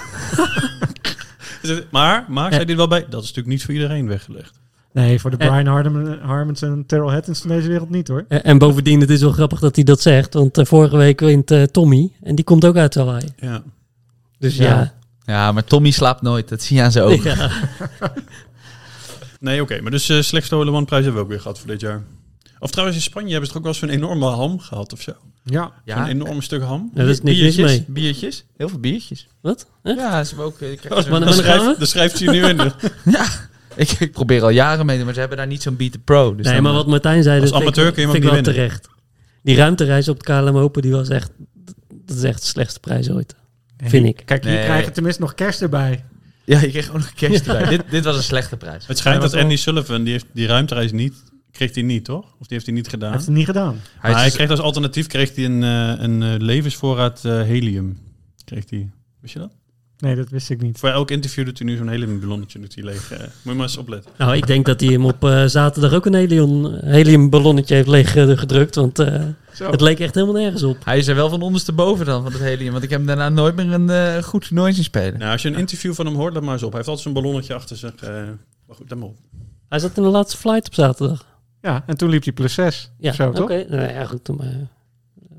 S1: Hij zegt, maar, maar, zei dit wel bij, dat is natuurlijk niet voor iedereen weggelegd.
S3: Nee, voor de
S4: Eh.
S3: Brian Harmon, Harmons en Terrell Hattons van deze wereld niet hoor.
S4: En, en bovendien, het is wel grappig dat hij dat zegt. Want eh, vorige week wint eh, Tommy. En die komt ook uit Hawaii.
S1: Ja.
S4: Dus
S3: Ja.
S4: ja.
S5: ja, maar Tommy slaapt nooit. Dat zie je aan zijn ogen.
S1: Oh.
S4: Ja.
S1: Nee, oké. maar dus eh slechtste One prijs hebben we ook weer gehad voor dit jaar. Of trouwens, in Spanje hebben ze toch ook wel eens een enorme ham gehad of zo.
S3: Ja,
S5: Ja.
S1: Een enorm stuk ham.
S4: Ah. Ja, daar is niks mis
S5: biertjes,
S4: mee.
S5: biertjes. Heel veel biertjes.
S4: Wat? Echt?
S5: Ja, ze hebben ook... eh,
S1: Oh,
S5: krijgen ze-
S4: Maar-
S1: dat,
S4: maar dan gaan we?
S1: schrijft, dat schrijft hij nu in.
S5: ik, ik probeer al jaren mee te doen, maar ze hebben daar niet zo'n Beat the Pro. Dus
S4: nee,
S5: dan-
S4: maar wat Martijn zei,
S1: eh, Als
S4: dat vind ik-
S1: amateur kun je hem
S4: vind
S1: ook
S4: ik
S1: niet
S4: wel terecht. Die ruimtereis op het KLM Open, die was echt, dat is echt de slechtste prijs ooit. Vind ik.
S3: Kijk, hier
S5: Nee.
S3: krijgen we tenminste nog kerst erbij.
S5: eh, Ja, je kreeg ook nog kerst erbij. dit, dit was een slechte prijs.
S1: Het schijnt dat
S3: Ja, dat wel.
S1: Andy Sullivan, die, heeft, die ruimtereis niet, kreeg hij niet, toch? Of die heeft hij niet gedaan?
S3: Heeft het niet gedaan.
S1: Maar hij
S5: is- dus-
S1: kreeg als alternatief kreeg hij een, eh, een eh, levensvoorraad eh, helium. Kreeg hij. Wist je dat?
S3: Nee, dat wist ik niet.
S1: Voor elk interview doet hij nu zo'n heliumballonnetje doet hij leeg. eh. moet je maar eens opletten.
S4: Nou, ik denk dat hij hem op eh, zaterdag ook een helium, heliumballonnetje heeft leeggedrukt. Want eh,
S3: Zo.
S4: het leek echt helemaal nergens op.
S5: dus- Hij is er wel van ondersteboven dan, van het helium. Want ik heb hem daarna nooit meer een eh, goed toernooi zien spelen.
S1: Nou, als je een interview van hem hoort, let maar eens op. Hij heeft altijd zo'n ballonnetje achter zich. eh. maar goed, let maar op.
S4: Hij zat in de laatste flight op zaterdag.
S3: Ja, en toen liep hij plus 6.
S4: Ja,
S3: zo,
S4: oké.
S3: toch?
S4: Nou ja, goed. Maar, eh,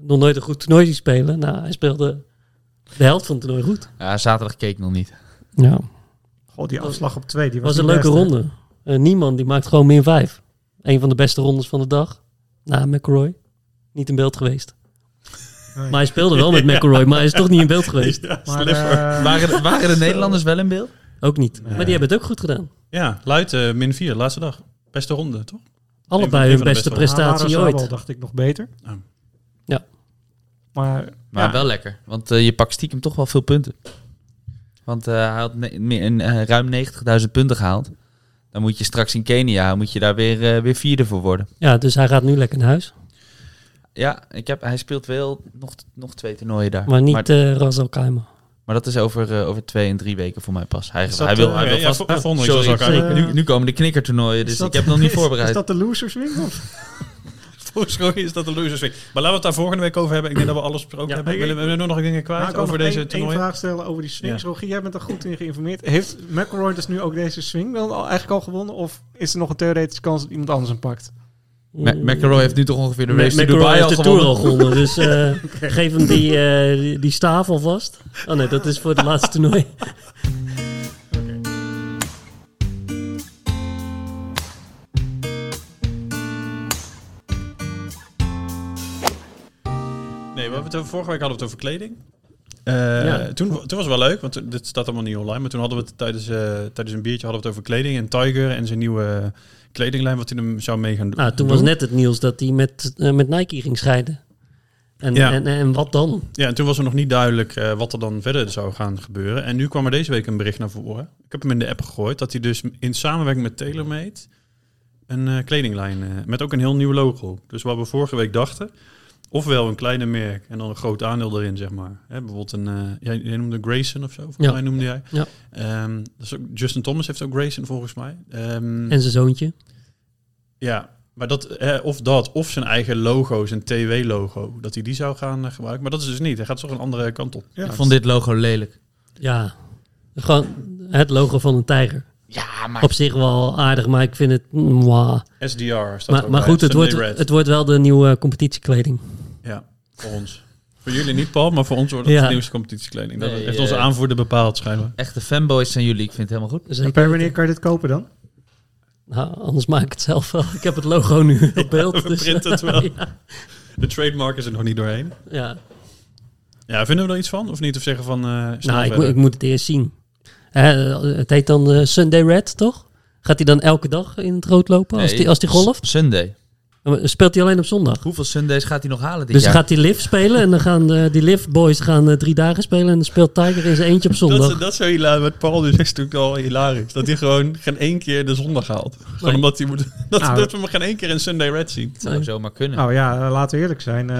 S4: nog nooit een goed toernooi zien spelen. Nou, hij speelde de helft van het toernooi goed.
S5: Ja, zaterdag keek ik nog niet.
S4: Ja.
S3: Goh, die afslag op 2. Die was,
S4: was een
S3: niet
S4: leuke
S3: best, hè?
S4: ronde. Eh, Niemand die maakt gewoon min 5. Een van de beste rondes van de dag. Na McRoy. Niet in beeld geweest.
S3: Nee.
S4: Maar hij speelde wel met McRoy, maar hij is toch niet in beeld geweest.
S1: Ja,
S3: Maar,
S1: sliver.
S3: eh,
S5: Waren, de- waren de Nederlanders wel in beeld?
S4: Ook niet. Maar die hebben het ook goed gedaan.
S1: ja, Luit, eh, min 4, laatste dag. Beste ronde, toch?
S4: Allebei
S1: Een
S4: hun
S1: van de beste
S4: beste prestatie
S3: Hamara Zabal
S4: ooit.
S3: dacht ik nog beter.
S1: Oh.
S4: Ja.
S3: Maar,
S5: Maar
S3: ja,
S5: wel lekker, want eh, je pakt stiekem toch wel veel punten. Want eh, hij had ne- meer- een, eh, ruim 90.000 punten gehaald. Dan moet je straks in Kenia, moet je daar weer, eh, weer vierde voor worden.
S4: Ja, dus hij gaat nu lekker naar huis.
S5: Ja, ik heb, hij speelt wel nog, nog twee toernooien daar.
S4: Maar niet
S5: maar,
S4: eh Razal Kaima.
S5: maar dat is over, eh, over twee en drie weken voor mij pas. Hij,
S3: Is dat,
S5: hij wil,
S3: eh,
S5: hij wil
S1: Oké, ja,
S5: vast...
S1: vo- eh, volgende week
S5: Sorry,
S1: zal ik
S3: sorry.
S1: eigenlijk-
S5: nu, nu komen de knikkertoernooien, dus
S3: is dat-
S5: ik heb nog niet
S3: is- Is,
S5: voorbereid.
S3: dat de losers wing? Of?
S1: Volgens mij is dat de losers week. Maar laten we het daar volgende week over hebben. Ik denk dat we alles besproken
S4: Ja.
S1: hebben. Willen we willen we nog dingen kwijt
S3: Nou, ik
S1: over deze
S3: één,
S1: toernooi?
S3: vraag stellen over die swings.
S1: Ja.
S3: Rogier, jij bent er goed in geïnformeerd. Heeft McElroy dus nu ook deze swing dan al, eigenlijk al gewonnen? Of is er nog een theoretische kans dat iemand anders hem pakt?
S5: Ma- McElroy heeft nu toch ongeveer de
S4: Mm. Ma-
S5: race to
S4: McElroy
S5: Dubai al
S4: heeft de Tour al
S5: gewonnen.
S4: gewonnen. Dus eh, geef hem die, eh, die, die staaf alvast. Oh nee, dat is voor het laatste toernooi.
S1: Nee, we hebben het over, vorige week hadden we het over kleding.
S4: Ja.
S1: Eh, toen, toen was het wel leuk, want toen- dit staat allemaal niet online. Maar toen hadden we het tijdens, eh, tijdens een biertje hadden we het over kleding. En Tiger en zijn nieuwe kledinglijn, wat hij hem zou mee gaan doen.
S4: Nou, toen was net het nieuws dat hij met, eh, met Nike ging scheiden. En,
S1: Ja.
S4: en, en wat dan?
S1: Ja, en toen was er nog niet duidelijk eh, wat er dan verder zou gaan gebeuren. En nu kwam er deze week een bericht naar voren. Ik heb hem in de app gegooid. Dat hij dus in samenwerking met TaylorMade een eh, kledinglijn... eh, met ook een heel nieuw logo. Dus wat we vorige week dachten... ofwel een kleine merk en dan een groot aandeel erin, zeg maar. Hè, bijvoorbeeld een, eh, jij, jij noemde Grayson of zo, volgens
S4: Ja.
S1: mij noemde jij.
S4: Ja.
S1: Ehm, dat is ook, Justin Thomas heeft ook Grayson volgens mij. Ehm,
S4: En zijn zoontje.
S1: Ja, maar dat, hè, of dat, of zijn eigen logo, zijn TW-logo, dat hij die zou gaan eh, gebruiken. Maar dat is dus niet, hij gaat toch een andere kant op.
S3: Ja.
S5: Ik vond dit logo lelijk.
S4: Ja, gewoon het logo van een tijger.
S5: Ja, maar...
S4: Op zich wel aardig, maar ik vind het... mwah.
S1: SDR staat er
S4: Maar,
S1: ook
S4: maar
S1: bij,
S4: goed, het
S1: Sunday
S4: wordt,
S1: Red.
S4: het wordt wel de nieuwe competitiekleding.
S1: Ja, voor ons. voor jullie niet, Paul, maar voor ons wordt het
S4: Ja.
S1: de nieuwste competitiekleding. Dat
S5: Nee,
S1: heeft onze
S5: eh,
S1: aanvoerder bepaald, schijnbaar.
S5: Echte fanboys zijn jullie, ik vind het helemaal goed.
S4: Zeker.
S3: En per wanneer kan je dit kopen dan?
S4: Nou, anders maak ik het zelf wel. Ik heb het logo nu op beeld.
S1: we
S4: dus,
S1: printen het wel.
S4: ja,
S1: De trademark is er nog niet doorheen.
S4: ja.
S1: Ja, vinden we er iets van? Of niet? Of zeggen van... eh snel
S4: Nou, ik, moet-
S1: verder.
S4: ik moet het eerst zien. Eh, het heet dan eh, Sunday Red, toch? Gaat hij dan elke dag in het rood lopen als
S5: Nee,
S4: die, als die golft? Eh,
S5: S- Sunday.
S4: Speelt hij alleen op zondag?
S5: Hoeveel Sundays gaat hij nog halen dit
S4: Dus dan
S5: jaar?
S4: gaat die lift spelen en dan gaan eh, die lift boys gaan eh, drie dagen spelen en dan speelt Tiger in zijn eentje op zondag.
S1: Dat, is- dat is zo hilarisch. Wat Paul dus is natuurlijk al hilarisch. Dat hij gewoon geen één keer de zondag haalt. Gewoon
S4: Nee.
S1: omdat hij moet... Dat,
S3: Nou.
S1: dat we hem geen één keer in Sunday Red zien.
S5: zou zomaar kunnen.
S3: Nou ja, eh, laten we eerlijk zijn. eh,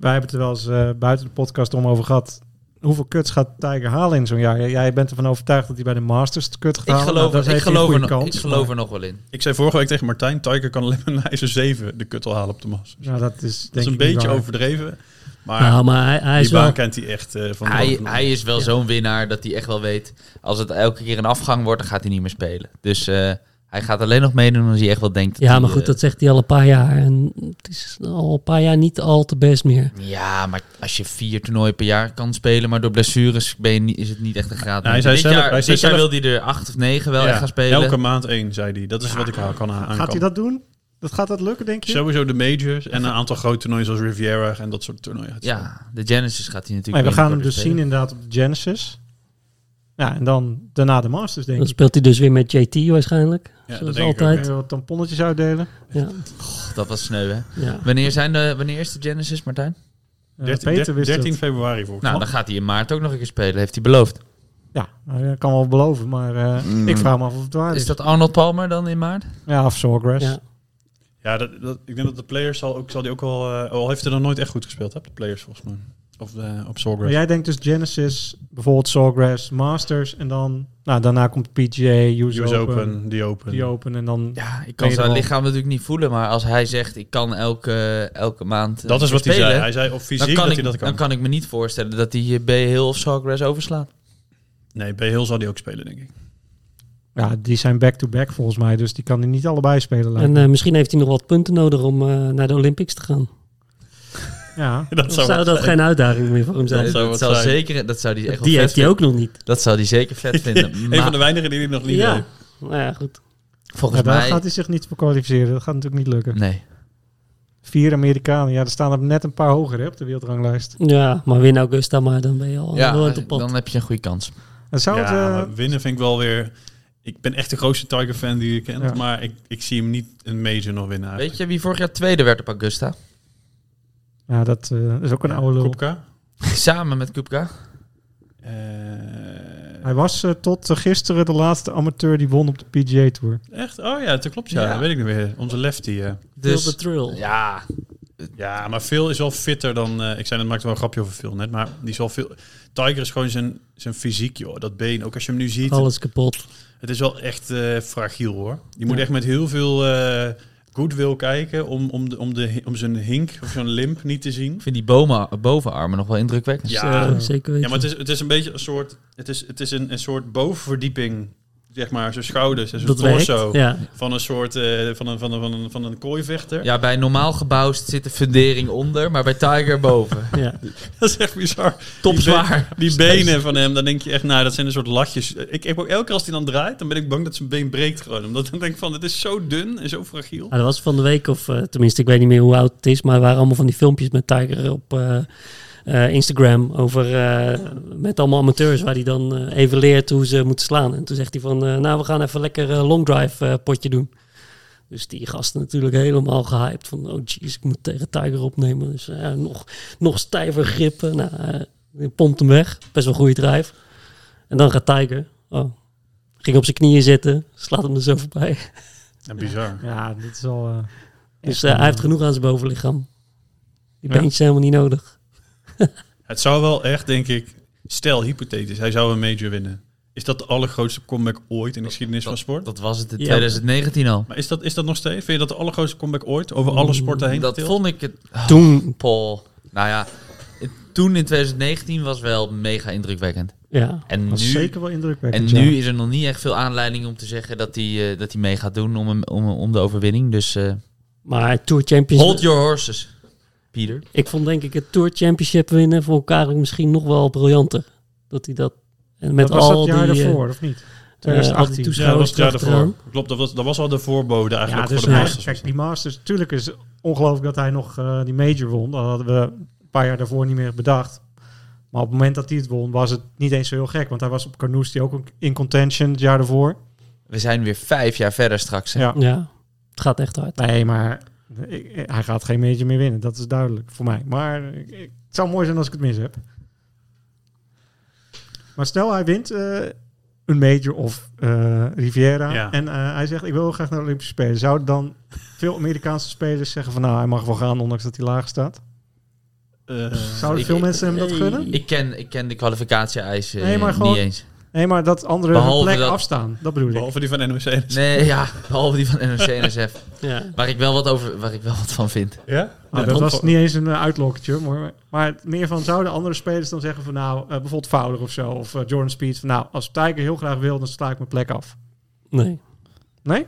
S3: wij hebben het er wel eens eh, buiten de podcast om over gehad. Hoeveel kuts gaat Tiger halen in zo'n jaar? Jij- Jij bent ervan overtuigd dat hij bij de Masters het kut gaat
S5: ik
S3: halen. Nou,
S5: geloof,
S3: dat
S5: ik
S3: heeft hij een
S5: geloof, er,
S3: goede
S5: nog-
S3: kans,
S5: ik geloof
S3: maar-
S5: er nog wel in.
S1: Ik zei vorige week tegen Martijn... Tiger kan alleen maar na zijn zeven de kuttel halen op de mas.
S3: Nou, dat is, denk
S1: Dat is een
S3: ik niet
S1: beetje
S3: waar.
S1: overdreven. Maar
S4: nou, maar hij, hij is
S1: die baan
S4: wel...
S1: kent hij echt eh, van de
S5: Hij,
S1: bovenop.
S5: hij is wel
S4: Ja.
S5: zo'n winnaar dat hij echt wel weet... als het elke keer een afgang wordt, dan gaat hij niet meer spelen. Dus eh, hij gaat alleen nog meedoen als hij echt wel denkt... dat
S4: Ja, maar
S5: hij,
S4: goed,
S5: eh,
S4: dat zegt hij al een paar jaar. En het is al een paar jaar niet al te best meer.
S5: Ja, maar als je vier toernooien per jaar kan spelen... maar door blessures ben je niet, is het niet echt een graad.
S1: Nou, hij
S5: Dit
S1: zei zelf-
S5: jaar,
S1: hij zei
S5: dit jaar
S1: zelf-
S5: wil hij er acht of negen wel
S1: Ja,
S5: echt gaan spelen.
S1: Elke maand één, zei hij. Dat is wat ik haar kan aan
S3: Gaat hij dat doen? Dat gaat dat lukken, denk je?
S1: Sowieso de majors en een aantal grote toernooien zoals Riviera en dat soort toernooien. gaat hij spelen.
S5: Ja, de Genesis gaat hij natuurlijk...
S3: Nee, we gaan hem dus
S5: binnenkort weer
S3: zien
S5: spelen.
S3: inderdaad op de Genesis. Ja, en dan daarna de Masters, denk
S4: Dan
S3: ik.
S4: speelt hij dus weer met JT waarschijnlijk.
S1: dat
S4: Zoals
S1: denk ik
S3: Kun
S4: altijd.
S3: je wat tamponnetjes uitdelen?
S4: Ja,
S5: Dat was sneu, hè?
S4: ja.
S5: Wanneer, zijn de, wanneer is de Genesis, Martijn?
S3: Eh,
S1: 13,
S3: Peter wist
S1: 13
S3: het.
S1: februari volgens mij.
S5: Nou, dan gaat hij in maart ook nog een keer spelen, heeft hij beloofd.
S3: Ja, nou, ja, kan wel beloven, maar eh,
S5: Mm.
S3: ik vraag me af of het waar is.
S5: Is dat Arnold Palmer dan in maart?
S3: Ja, of Sawgrass.
S4: Ja.
S1: ja, dat, dat, ik denk dat de players zal, ook, zal die ook wel... eh, al heeft hij dan nooit echt goed gespeeld, hè? De players volgens mij. Of eh, op
S3: Maar
S1: Sawgrass.
S3: jij denkt dus Genesis, bijvoorbeeld Sawgrass, Masters en dan... Nou, daarna komt PGA, US,
S1: US
S3: Open,
S1: Open, die Open.
S3: die Open en dan...
S5: Ja, ik
S3: Ben
S5: kan
S3: je
S5: zijn
S3: er wel?
S5: lichaam natuurlijk niet voelen, maar als hij zegt ik kan elke, elke maand eh,
S1: Dat is wat hij
S5: spelen,
S1: zei. Hij zei op fysiek
S5: dan,
S1: dat
S5: kan ik,
S1: hij dat kan.
S5: dan kan ik me niet voorstellen dat hij eh, B. Hill of Sawgrass overslaat.
S1: Nee, bij Hill zal die ook spelen, denk ik.
S3: Ja, die zijn back-to-back volgens mij, dus die kan hij niet allebei spelen. lijkt
S4: En
S3: me.
S4: eh, misschien heeft hij nog wat punten nodig om eh, naar de Olympics te gaan.
S3: ja,
S1: Dat
S4: Of
S1: zou,
S4: zou, dat geen uitdaging meer voor hem
S5: Dat,
S4: zijn?
S1: zou
S5: dat
S1: wat
S5: zou
S1: zijn.
S5: zeker, dat zou die echt wel
S4: Die
S5: vet
S4: heeft hij
S5: vinden.
S4: ook nog niet.
S5: Dat zou die zeker vet vinden.
S1: Een van de
S5: maar
S1: weinigen die hij nog niet
S4: ja.
S1: deed.
S4: Nou ja, goed.
S5: volgens
S3: ja, daar
S5: mij
S3: gaat hij zich niet voor kwalificeren. Dat gaat natuurlijk niet lukken.
S5: nee.
S3: Vier Amerikanen, ja, er staan er net een paar hoger hè, op de wereldranglijst.
S4: Ja, maar win Augusta maar, dan ben je al heel
S5: Ja,
S4: hard op pad.
S5: dan heb je een goede kans.
S3: En zou het,
S1: ja,
S3: eh,
S1: maar winnen vind ik wel weer... Ik ben echt de grootste Tiger-fan die je kent.
S3: Ja.
S1: Maar ik, ik zie hem niet een major nog winnen eigenlijk.
S5: Weet je wie vorig jaar tweede werd op Augusta?
S3: ja, dat eh, is ook een oude lul.
S1: Koepka?
S5: Samen met Kupka.
S1: Eh,
S3: Hij was eh, tot eh, gisteren de laatste amateur die won op de PGA Tour.
S1: echt? Oh ja, dat klopt. Ja,
S5: Ja.
S1: Dat weet ik niet meer. Onze lefty. ja.
S4: Heel
S5: Dus
S4: de trail.
S5: ja,
S1: Ja, maar Phil is wel fitter dan... eh, ik zei, dat maakte wel een grapje over Phil net. Maar die is wel veel... Tiger is gewoon zijn, zijn fysiek, joh. Dat been. Ook als je hem nu ziet.
S4: Alles kapot.
S1: Het is wel echt eh, fragiel, hoor. Je moet
S4: Ja.
S1: echt met heel veel eh goodwill kijken... om, om, de, om, de, om zijn hink of zijn limp niet te zien.
S5: ik vind die bomen, bovenarmen nog wel indrukwekkend.
S1: Ja.
S3: eh,
S4: Zo,
S1: Ja,
S4: zeker weten.
S1: Ja, maar het is, het is een beetje een soort... Het is, het is een, een soort bovenverdieping... Zeg maar, zijn schouders en zijn
S4: dat
S1: torso.
S4: werkt. Ja.
S1: Van een soort eh, van, een, van, een, van, een, van een kooivechter.
S5: Ja, bij normaal gebouw zit de fundering onder, maar bij Tiger boven.
S4: Ja.
S1: Dat is echt bizar.
S5: Topzwaar.
S1: Die benen van hem, dan denk je echt, nou, dat zijn een soort latjes. Ik heb ook elke keer als hij dan draait, dan ben ik bang dat zijn been breekt gewoon. Omdat ik denk van, het is zo dun en zo fragiel.
S4: Ah, dat was van de week, of eh, tenminste, ik weet niet meer hoe oud het is, maar er waren allemaal van die filmpjes met Tiger op eh, eh, Instagram over eh, met allemaal amateurs waar hij dan eh, even leert hoe ze moeten slaan. En toen zegt hij van, eh, nou, we gaan even lekker eh, long drive eh, potje doen. Dus die gasten natuurlijk helemaal gehyped van, oh jeez, ik moet tegen Tiger opnemen. Dus eh, nog, nog stijver grippen. Nou, eh, je pompt hem weg. Best wel een goede drijf. En dan gaat Tiger. Oh. Ging op zijn knieën zitten, slaat hem er zo voorbij.
S1: Ja, bizar.
S3: Ja, dit is al. eh,
S4: Dus
S3: echt
S4: eh,
S3: een,
S4: hij heeft genoeg aan zijn bovenlichaam. Die
S1: Ja.
S4: bench is helemaal niet nodig.
S1: Het zou wel echt, denk ik, stel hypothetisch, hij zou een major winnen. Is dat de allergrootste comeback ooit in de geschiedenis van sport?
S5: Dat was het in
S4: Ja.
S5: 2019 al.
S1: maar is dat, is dat nog steeds? Vind je dat de allergrootste comeback ooit over alle
S4: Oeh,
S1: sporten heen?
S5: Dat
S1: getild?
S5: vond ik het.
S3: Ah.
S4: Toen,
S5: Paul. Nou ja, het- toen in 2019 was wel mega indrukwekkend.
S4: ja.
S5: En nu,
S3: was zeker wel
S5: en
S3: indrukwekkend.
S5: nu is er nog niet echt veel aanleiding om te zeggen dat hij eh, dat hij mee gaat doen om, hem, om, om de overwinning. Dus eh,
S4: Maar Tour Championship...
S5: hold your horses, Pieter.
S4: Ik vond denk ik het Tour Championship winnen voor elkaar misschien nog wel briljanter. Dat hij dat... En met
S3: met was
S4: al
S3: al dat jaar
S4: die... eh,
S3: daarvoor, of niet?
S4: eh, al die
S3: 2018.
S1: ja, dat was het jaar
S4: toeschouwers
S1: daarvoor. Klopt, dat was, dat was al de voorbode
S3: Ja,
S1: eigenlijk
S3: dus
S1: voor de
S3: hij-
S1: Masters.
S3: kijk, die Masters, natuurlijk is het ongelooflijk dat hij nog eh, die major won. Dat hadden we een paar jaar daarvoor niet meer bedacht. Maar op het moment dat hij het won, was het niet eens zo heel gek. Want hij was op Carnoustie die ook een- in contention het jaar daarvoor.
S5: We zijn weer vijf jaar verder straks. hè.
S3: Ja.
S4: Ja, het gaat echt hard.
S3: Nee, maar ik- hij gaat geen major meer winnen. Dat is duidelijk voor mij. Maar ik- ik- het zou mooi zijn als ik het mis heb. Maar stel hij wint eh, een major of eh, Riviera.
S1: Ja.
S3: En eh, hij zegt, ik wil heel graag naar de Olympische Spelen. Zou dan veel Amerikaanse spelers zeggen van... nou, hij mag wel gaan, ondanks dat hij laag staat?
S1: Eh,
S3: Zouden
S5: ik-
S3: veel mensen hem dat gunnen?
S5: Ik ken, ik ken de kwalificatie-eisen
S3: Nee, maar
S5: eh,
S3: gewoon-
S5: niet eens.
S3: Nee, maar dat anderen
S5: Behalve
S3: hun plek
S5: dat-
S3: afstaan. Dat bedoel ik.
S1: behalve die van NOC.
S5: Nee, ja, behalve die van NRC NSF.
S4: Ja.
S5: Waar ik wel wat, over, waar ik wel wat van vind.
S1: Ja?
S3: Ah, dat was niet eens een eh, uitlokketje. Maar, maar het meer van, zouden andere spelers dan zeggen van... nou, eh, bijvoorbeeld Fowler of zo, of eh, Jordan Speed... van nou, als Tiger heel graag wil, dan sla ik mijn plek af.
S4: Nee.
S3: Nee?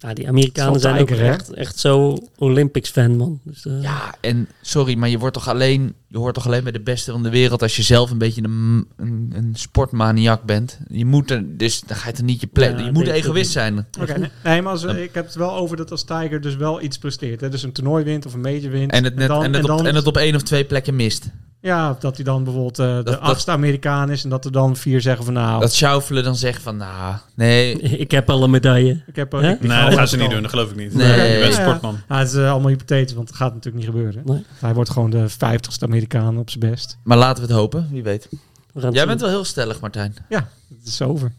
S4: Ja, die
S3: Het
S4: Amerikanen
S3: is wel
S4: zijn ook
S3: Tiger, hè?
S4: echt, echt zo Olympics-fan, man. Dus, eh,
S5: Ja, en sorry, maar je, wordt toch alleen, je hoort toch alleen bij de beste van de wereld als je zelf een beetje een, een, een sportmaniak bent. Je moet er, dus dan ga je er niet je plek.
S4: Ja,
S5: je
S4: ik
S5: moet
S4: denk dat
S5: egoïst zijn.
S3: Oké, nee, nee, maar als, eh, ik heb het wel over dat als Tiger dus wel iets presteert. Hè, dus een toernooi wint of een major wint.
S5: En het, net, en,
S3: dan-
S5: het op,
S3: dan-
S5: en het op één of twee plekken mist.
S3: Ja, dat hij dan bijvoorbeeld eh, de
S5: dat-
S3: achtste Amerikaan is... en dat er dan vier zeggen van nou,
S5: Dat schaufelen dan zegt van, nou, nee.
S4: ik heb al een medaille.
S3: ik heb... eh,
S4: Hè?
S3: ik- ik
S1: Nee,
S3: ga
S1: dat
S3: wel
S1: gaan ze niet
S3: komen.
S1: doen, dat geloof ik niet.
S5: Nee.
S1: Je bent
S3: Ja, ja.
S1: sportman.
S3: Nou, het is eh, allemaal hypothetisch, want dat gaat natuurlijk niet gebeuren.
S4: Nee.
S3: Hij wordt gewoon de vijftigste Amerikaan op zijn best.
S5: Maar laten we het hopen, wie weet.
S4: We gaan het
S5: Jij
S4: zien.
S5: bent wel heel stellig, Martijn.
S3: Het is over.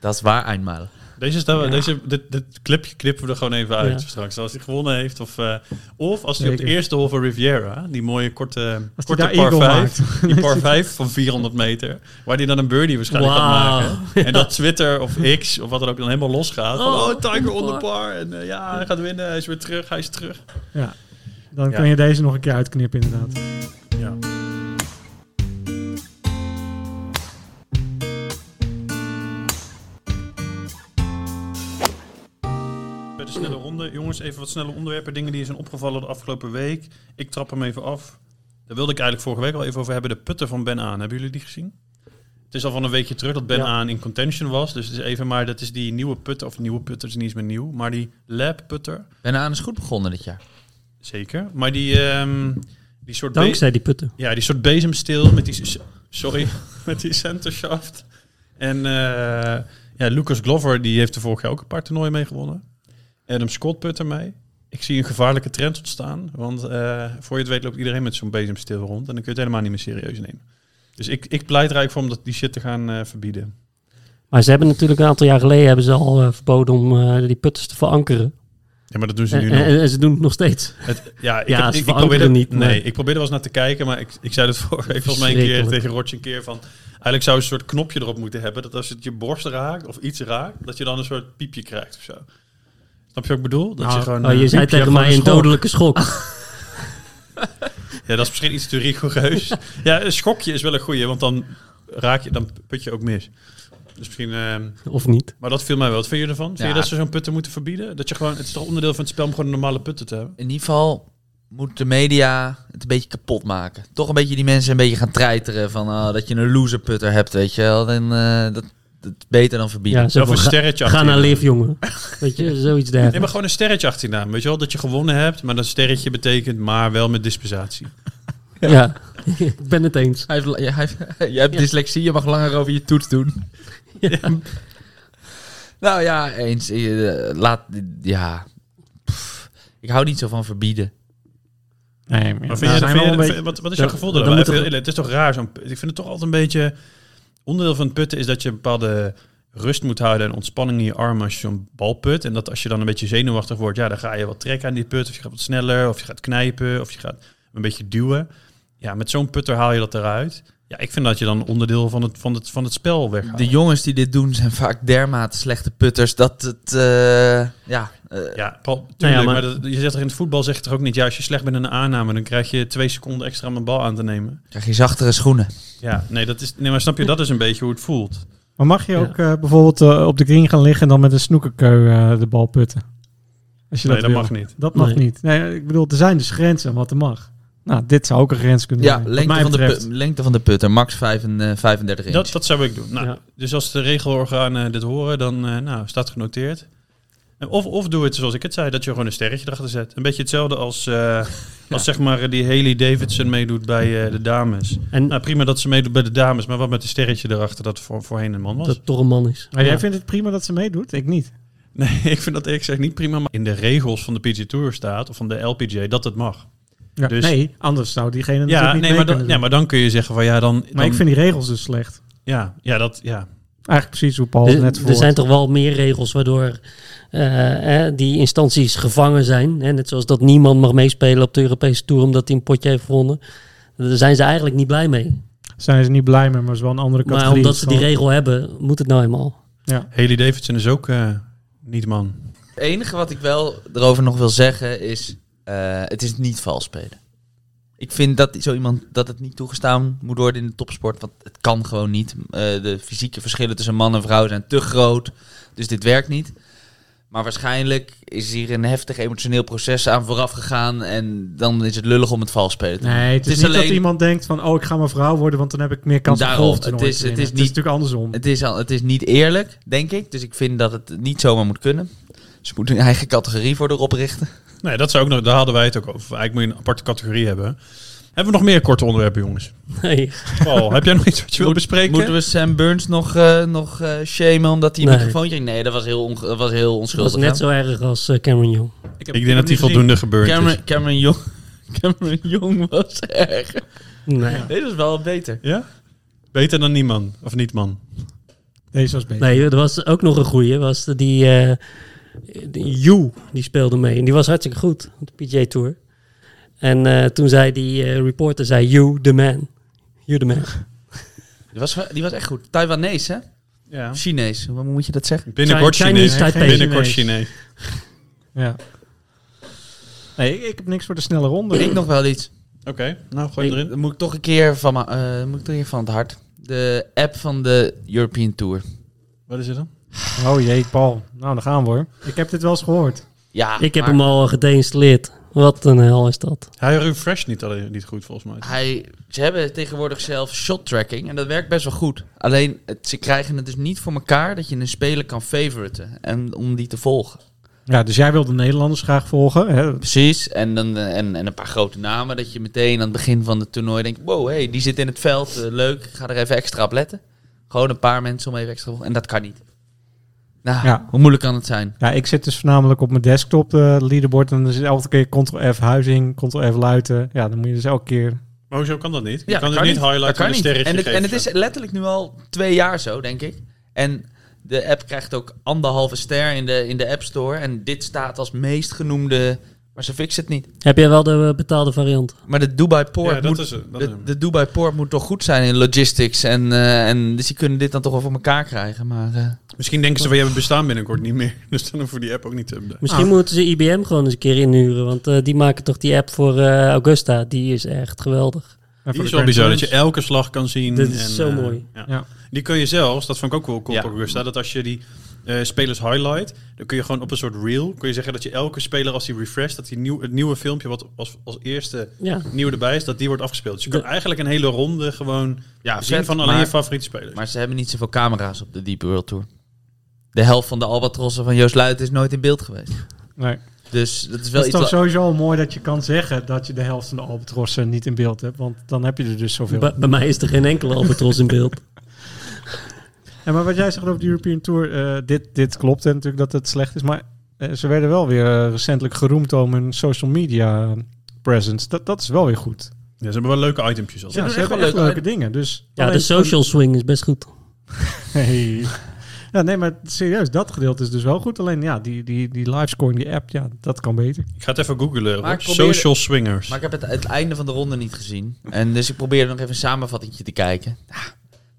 S5: Dat is waar, eindmalen.
S1: Deze, stel,
S4: Ja.
S1: deze dit, dit clipje knippen we er gewoon even uit
S4: Ja.
S1: straks. Als hij gewonnen heeft. Of, eh, of als hij op de
S3: Zeker.
S1: eerste hol van Riviera, die mooie korte,
S3: Als hij
S1: korte
S3: daar
S1: par
S3: eagle
S1: 5,
S3: maakt.
S1: die par 5 van 400 meter, waar hij dan een birdie waarschijnlijk gaat
S4: Wauw.
S1: maken. En dat Twitter of X of wat dan ook dan helemaal losgaat. Van,
S4: Oh,
S1: oh, Tiger
S4: on
S1: onder
S4: par.
S1: par. En eh, ja, hij gaat winnen, hij is weer terug, hij is terug.
S3: Ja. Dan
S1: Ja.
S3: kun je deze nog een keer uitknippen inderdaad.
S1: Ja. Bij de snelle ronde. Jongens, even wat snelle onderwerpen. Dingen die zijn opgevallen de afgelopen week. Ik trap hem even af. Daar wilde ik eigenlijk vorige week al even over hebben. De putten van Ben Aan. Hebben jullie die gezien? Het is al van een weekje terug dat Ben
S4: Ja.
S1: Aan in contention was. Dus het is even maar, dat is die nieuwe putter. Of nieuwe putter, het is niet eens meer nieuw. Maar die lab putter,
S5: Ben nou aan is goed begonnen dit jaar.
S1: zeker. Maar die, ehm, die soort... be-
S4: Dankzij die putten.
S1: ja, die soort bezemsteel met die... s- Sorry, met die centershaft. En eh, ja, Lucas Glover, die heeft er vorig jaar ook een paar toernooien mee gewonnen. Adam Scott put ermee. Ik zie een gevaarlijke trend ontstaan. Want eh, voor je het weet loopt iedereen met zo'n bezemsteel rond. En dan kun je het helemaal niet meer serieus nemen. Dus ik, ik pleit er eigenlijk voor om dat die shit te gaan eh, verbieden.
S4: Maar ze hebben natuurlijk een aantal jaar geleden hebben ze al eh, verboden om eh, die putters te verankeren.
S1: Ja, maar dat doen ze
S4: En,
S1: nu nog.
S4: en- en ze doen het nog steeds.
S1: Het, ja, ik, heb,
S4: Ja, ze
S1: ik, ik
S4: verankeren
S1: probeerde
S4: niet, maar-
S1: Nee, ik probeerde wel eens naar te kijken, maar ik, ik zei dat vorige week volgens mij een keer
S4: Verschrikkelijk.
S1: tegen Rotje een keer van. Eigenlijk zou je een soort knopje erop moeten hebben dat als het je borst raakt of iets raakt, dat je dan een soort piepje krijgt of zo. Snap je wat ik bedoel? Dat
S3: Nou,
S1: je gewoon,
S4: Oh,
S1: eh,
S4: je zei
S1: piepje,
S4: tegen
S1: gewoon
S4: mij een
S1: schok.
S4: dodelijke schok.
S1: Ja, dat is misschien iets te rigoureus. ja, een schokje is wel een goeie, want dan raak je, dan put je ook mis. Dus misschien, ehm,
S4: Of niet?
S1: maar dat viel mij wel. Wat vind je ervan? Vind
S5: Ja.
S1: je dat ze zo'n putten moeten verbieden? Dat je gewoon, het is toch onderdeel van het spel om gewoon een normale putten te hebben?
S5: in ieder geval moet de media het een beetje kapot maken. Toch een beetje die mensen een beetje gaan treiteren van ah, dat je een loserputter hebt, weet je wel. En eh, dat, dat is beter dan verbieden.
S4: Ja, zo
S1: Of een
S4: van, ga,
S1: sterretje
S4: ga
S1: achter je
S4: naar
S1: naam.
S4: Liv, jongen. Weet je, zoiets
S1: Nee, maar
S4: dergelijks.
S1: gewoon een sterretje achter je naam. Weet je wel, dat je gewonnen hebt, maar dat sterretje betekent maar wel met dispensatie.
S4: Ja, ik ben het eens.
S5: Hij heeft, la- ja, hij heeft- je hebt dyslexie, je mag langer over je toets doen. nou ja, eens. eh, laat, ja. Pff, ik hou niet zo van verbieden.
S3: Nee, maar,
S1: Maar
S3: nou,
S1: vind je,
S3: zijn
S1: vind
S3: wel
S1: je-
S3: een beetje-
S1: vind- wat, wat is
S4: Ja,
S1: jouw gevoel
S4: dan
S1: daarbij?
S4: moet
S1: Even
S4: toch-
S1: heel eerlijk, Het is toch raar zo'n... Ik vind het toch altijd een beetje... Onderdeel van het putten is dat je bepaalde rust moet houden en ontspanning in je armen als je zo'n bal put. En dat als je dan een beetje zenuwachtig wordt, ja, dan ga je wat trekken aan die put. Of je gaat wat sneller, of je gaat knijpen, of je gaat een beetje duwen. Ja, met zo'n putter haal je dat eruit. Ja, ik vind dat je dan onderdeel van het, van het, van het spel weghaalt.
S5: De jongens die dit doen zijn vaak dermate slechte putters dat het. eh, ja, eh,
S1: Ja, Paul, tuurlijk,
S4: Nou
S1: maar,
S4: maar-
S1: dat- je zegt toch in het voetbal zeg je toch ook niet... ja, als je slecht bent in een aanname... dan krijg je twee seconden extra om een bal aan te nemen.
S5: krijg je zachtere schoenen.
S1: Ja, nee, dat is, nee maar snap je, dat is een beetje hoe het voelt.
S3: Maar mag je
S4: Ja.
S3: ook eh, bijvoorbeeld eh, op de green gaan liggen en dan met een snoekerkeu eh, de bal putten? Als je
S1: Nee, dat
S3: wil.
S1: mag niet.
S3: Dat mag
S4: Nee.
S3: niet. Nee, ik bedoel, er zijn dus grenzen aan wat er mag. Nou, dit zou ook een grens kunnen
S5: Ja,
S3: zijn. wat
S5: lengte
S3: mij
S5: van, de
S3: betreft.
S5: pu- lengte van de putter, max 35, 35 inch.
S1: Dat, dat zou ik doen. Nou,
S4: Ja.
S1: Dus als de regelorganen dit horen, dan eh, nou, staat genoteerd. En Of, of doe het zoals ik het zei, dat je gewoon een sterretje erachter zet. Een beetje hetzelfde als, eh, als zeg maar eh, die Haley Davidson meedoet bij eh, de dames.
S4: En eh,
S1: Nou, prima dat ze meedoet bij de dames, maar wat met een sterretje erachter dat voor, voorheen een man was.
S4: dat het toch een man is.
S3: Maar jij
S4: Ja.
S3: vindt het prima dat ze meedoet? Ik niet.
S1: Nee, ik vind dat ik zeg niet prima, maar in de regels van de PGA Tour staat, of van de LPGA, dat het mag.
S3: Ja,
S1: Dus-
S3: nee, anders zou diegene
S1: Ja,
S3: natuurlijk niet
S1: nee,
S3: mee
S1: maar dan, ja,
S3: kunnen doen.
S1: maar dan kun je zeggen van ja, dan...
S3: Maar
S1: dan-
S3: ik vind die regels dus slecht.
S1: Ja, ja, dat, ja.
S3: Eigenlijk precies hoe Paul het
S4: Er,
S3: net
S4: er
S3: voor.
S4: zijn toch wel meer regels waardoor eh, eh, die instanties gevangen zijn. Hè? Net zoals dat niemand mag meespelen op de Europese Tour omdat hij een potje heeft gewonnen. Daar zijn ze eigenlijk niet blij mee.
S3: zijn ze niet blij mee, maar is wel een andere categorie.
S4: Maar omdat ze die
S3: Zal-
S4: regel hebben, moet het nou eenmaal.
S1: Haley Davidson is ook eh, niet man.
S5: Het enige wat ik wel erover nog wil zeggen is, eh, het is niet vals spelen. Ik vind dat zo iemand dat het niet toegestaan moet worden in de topsport, want het kan gewoon niet. Eh, de fysieke verschillen tussen man en vrouw zijn te groot, dus dit werkt niet. Maar waarschijnlijk is hier een heftig emotioneel proces aan vooraf gegaan en dan is het lullig om het vals spelen te doen.
S3: Nee, het is, niet dat iemand denkt van, oh, ik ga maar vrouw worden, want dan heb ik meer kans op
S5: Daarom,
S3: golftoernooi
S5: het is-
S3: te
S5: het
S3: winnen.
S5: is
S3: het
S5: niet-
S3: is natuurlijk andersom.
S5: Het is, al, het is niet eerlijk, denk ik. Dus ik vind dat het niet zomaar moet kunnen. Ze moeten een eigen categorie voor erop richten.
S1: Nee, dat zou ook nog, daar hadden wij het ook over. Eigenlijk moet je een aparte categorie hebben. Hebben we nog meer korte onderwerpen, jongens?
S4: Nee.
S1: Paul, heb jij nog iets wat je wilt bespreken?
S5: Moeten we Sam Burns nog, eh, nog eh, shamen omdat hij een
S4: Nee.
S5: microfoontje... Nee, dat was heel, onge- dat was heel
S4: Dat
S5: onschuldig.
S4: was net
S5: hè?
S4: zo erg als eh, Cameron Young.
S1: Ik denk dat die voldoende gebeurd is.
S5: Cameron, Cameron, Jong, Cameron Jong was erg.
S4: Nee.
S5: Dit is wel beter.
S1: Ja? Beter dan niemand, of niet man.
S3: Deze was beter.
S4: Nee, er was ook nog een goeie. Was de- die eh die Yu, die speelde mee. En die was hartstikke goed op de PJ Tour. En eh, toen zei die eh, reporter, zei You the man. You the man.
S5: Die was, die was echt goed. Taiwanese, hè?
S1: Ja.
S5: Chinees. Hoe moet je dat zeggen?
S1: Binnenkort
S4: Chinese
S1: Chinees.
S4: Taipei.
S1: Binnenkort
S3: Chinees.
S1: Chinees.
S3: Ja. Nee, ik, ik heb niks voor de snelle ronde.
S5: Ik nog wel iets.
S1: Oké, nou gooi
S5: Ik-
S1: je erin.
S5: dat moet ik toch een keer van, ma- eh, moet ik toch een keer van het hart. De app van de European Tour.
S1: Wat is het dan?
S3: Oh jee, Paul. Nou, dan gaan we hoor. Ik heb dit wel eens gehoord.
S5: Ja,
S4: Ik heb
S5: maar-
S4: hem al gedeinstalleerd. Wat een hel is dat?
S1: Hij refresht niet, alleen, niet goed, volgens mij.
S5: Hij, ze hebben tegenwoordig zelf shot tracking en dat werkt best wel goed. Alleen het- ze krijgen het dus niet voor elkaar dat je een speler kan favoriten en om die te volgen.
S3: Ja, dus jij wil de Nederlanders graag volgen. Hè?
S5: Precies, en, dan, eh, en, en een paar grote namen dat je meteen aan het begin van het toernooi denkt: wow, hey, die zit in het veld, eh, leuk, ik ga er even extra op letten. Gewoon een paar mensen om even extra te volgen en dat kan niet. Nou,
S3: Ja.
S5: hoe moeilijk kan het zijn?
S3: Ja, ik zit dus voornamelijk op mijn desktop, eh leaderboard. En dan zit elke keer ctrl-f huizing, ctrl-f luiten. Ja, dan moet je dus elke keer...
S1: Maar hoezo kan dat niet? Je
S5: Ja,
S1: kan
S5: dat
S1: het niet
S5: Dat
S1: highlighten
S5: kan
S1: met een
S5: niet.
S1: sterretje
S5: En het, en het
S1: geven.
S5: is letterlijk nu al twee jaar zo, denk ik. En de app krijgt ook anderhalve ster in de, in de App Store. En dit staat als meest genoemde. Maar ze fixen het niet.
S4: Heb jij wel de eh, betaalde variant?
S5: Maar de Dubai Port,
S1: Ja, dat
S5: moet,
S1: is het. Dat is
S5: de,
S1: hem.
S5: de Dubai Port moet toch goed zijn in logistics. En, eh, en dus die kunnen dit dan toch wel voor elkaar krijgen. Maar eh,
S1: Misschien denken ze van, jij bestaan binnenkort niet meer. Dus dan hoeven we die app ook niet te hebben.
S4: Misschien moeten ze IBM gewoon eens een keer inhuren. Want eh, die maken toch die app voor eh, Augusta. Die is echt geweldig.
S3: Ja,
S1: Die is wel bizar, dat je elke slag kan zien.
S4: Dit is zo
S1: eh,
S4: mooi.
S1: ja.
S3: Ja.
S1: Die kun je zelfs, dat vond ik ook wel cool
S5: Ja.
S1: op Augusta, dat als je die eh, spelers highlight, dan kun je gewoon op een soort reel, kun je zeggen dat je elke speler als die refresh, dat die nieuw, het nieuwe filmpje wat als, als eerste
S4: Ja.
S1: nieuw erbij is, dat die wordt afgespeeld. Dus je
S4: De-
S1: kan eigenlijk een hele ronde gewoon
S5: Ja,
S1: zien
S5: vet,
S1: van alleen
S5: maar-
S1: je favoriete spelers.
S5: Maar ze hebben niet zoveel camera's op de Deep World Tour. De helft van de albatrossen van Joost Luit is nooit in beeld geweest.
S3: Nee.
S5: Dus dat is wel
S3: Dat is
S5: iets.
S3: toch
S5: wat-
S3: sowieso al mooi dat je kan zeggen dat je de helft van de albatrossen niet in beeld hebt. Want dan heb je er dus zoveel.
S4: Bij, bij mij is er geen enkele albatros in beeld.
S3: Ja, maar wat jij zegt over de European Tour, eh, dit, dit klopt en natuurlijk dat het slecht is. Maar eh, ze werden wel weer eh, recentelijk geroemd om hun social media eh, presence. Dat, dat is wel weer goed.
S1: Ja, ze hebben wel leuke itempjes al.
S3: Ja, ze
S5: doen echt
S3: hebben
S5: wel
S3: echt
S5: leuke-
S3: leuke dingen. Dus
S4: Ja, de
S3: alleen-
S4: social swing is best goed.
S3: Hey. Ja, nee, maar serieus, dat gedeelte is dus wel goed. Alleen ja, die, die, die livescoring, die app, ja, dat kan beter.
S1: Ik ga het even googlen.
S5: Maar
S1: hoor.
S5: ik probeer-
S1: Social swingers.
S5: Maar ik heb het, het einde van de ronde niet gezien. En dus ik probeerde nog even een samenvattingje te kijken. Ja,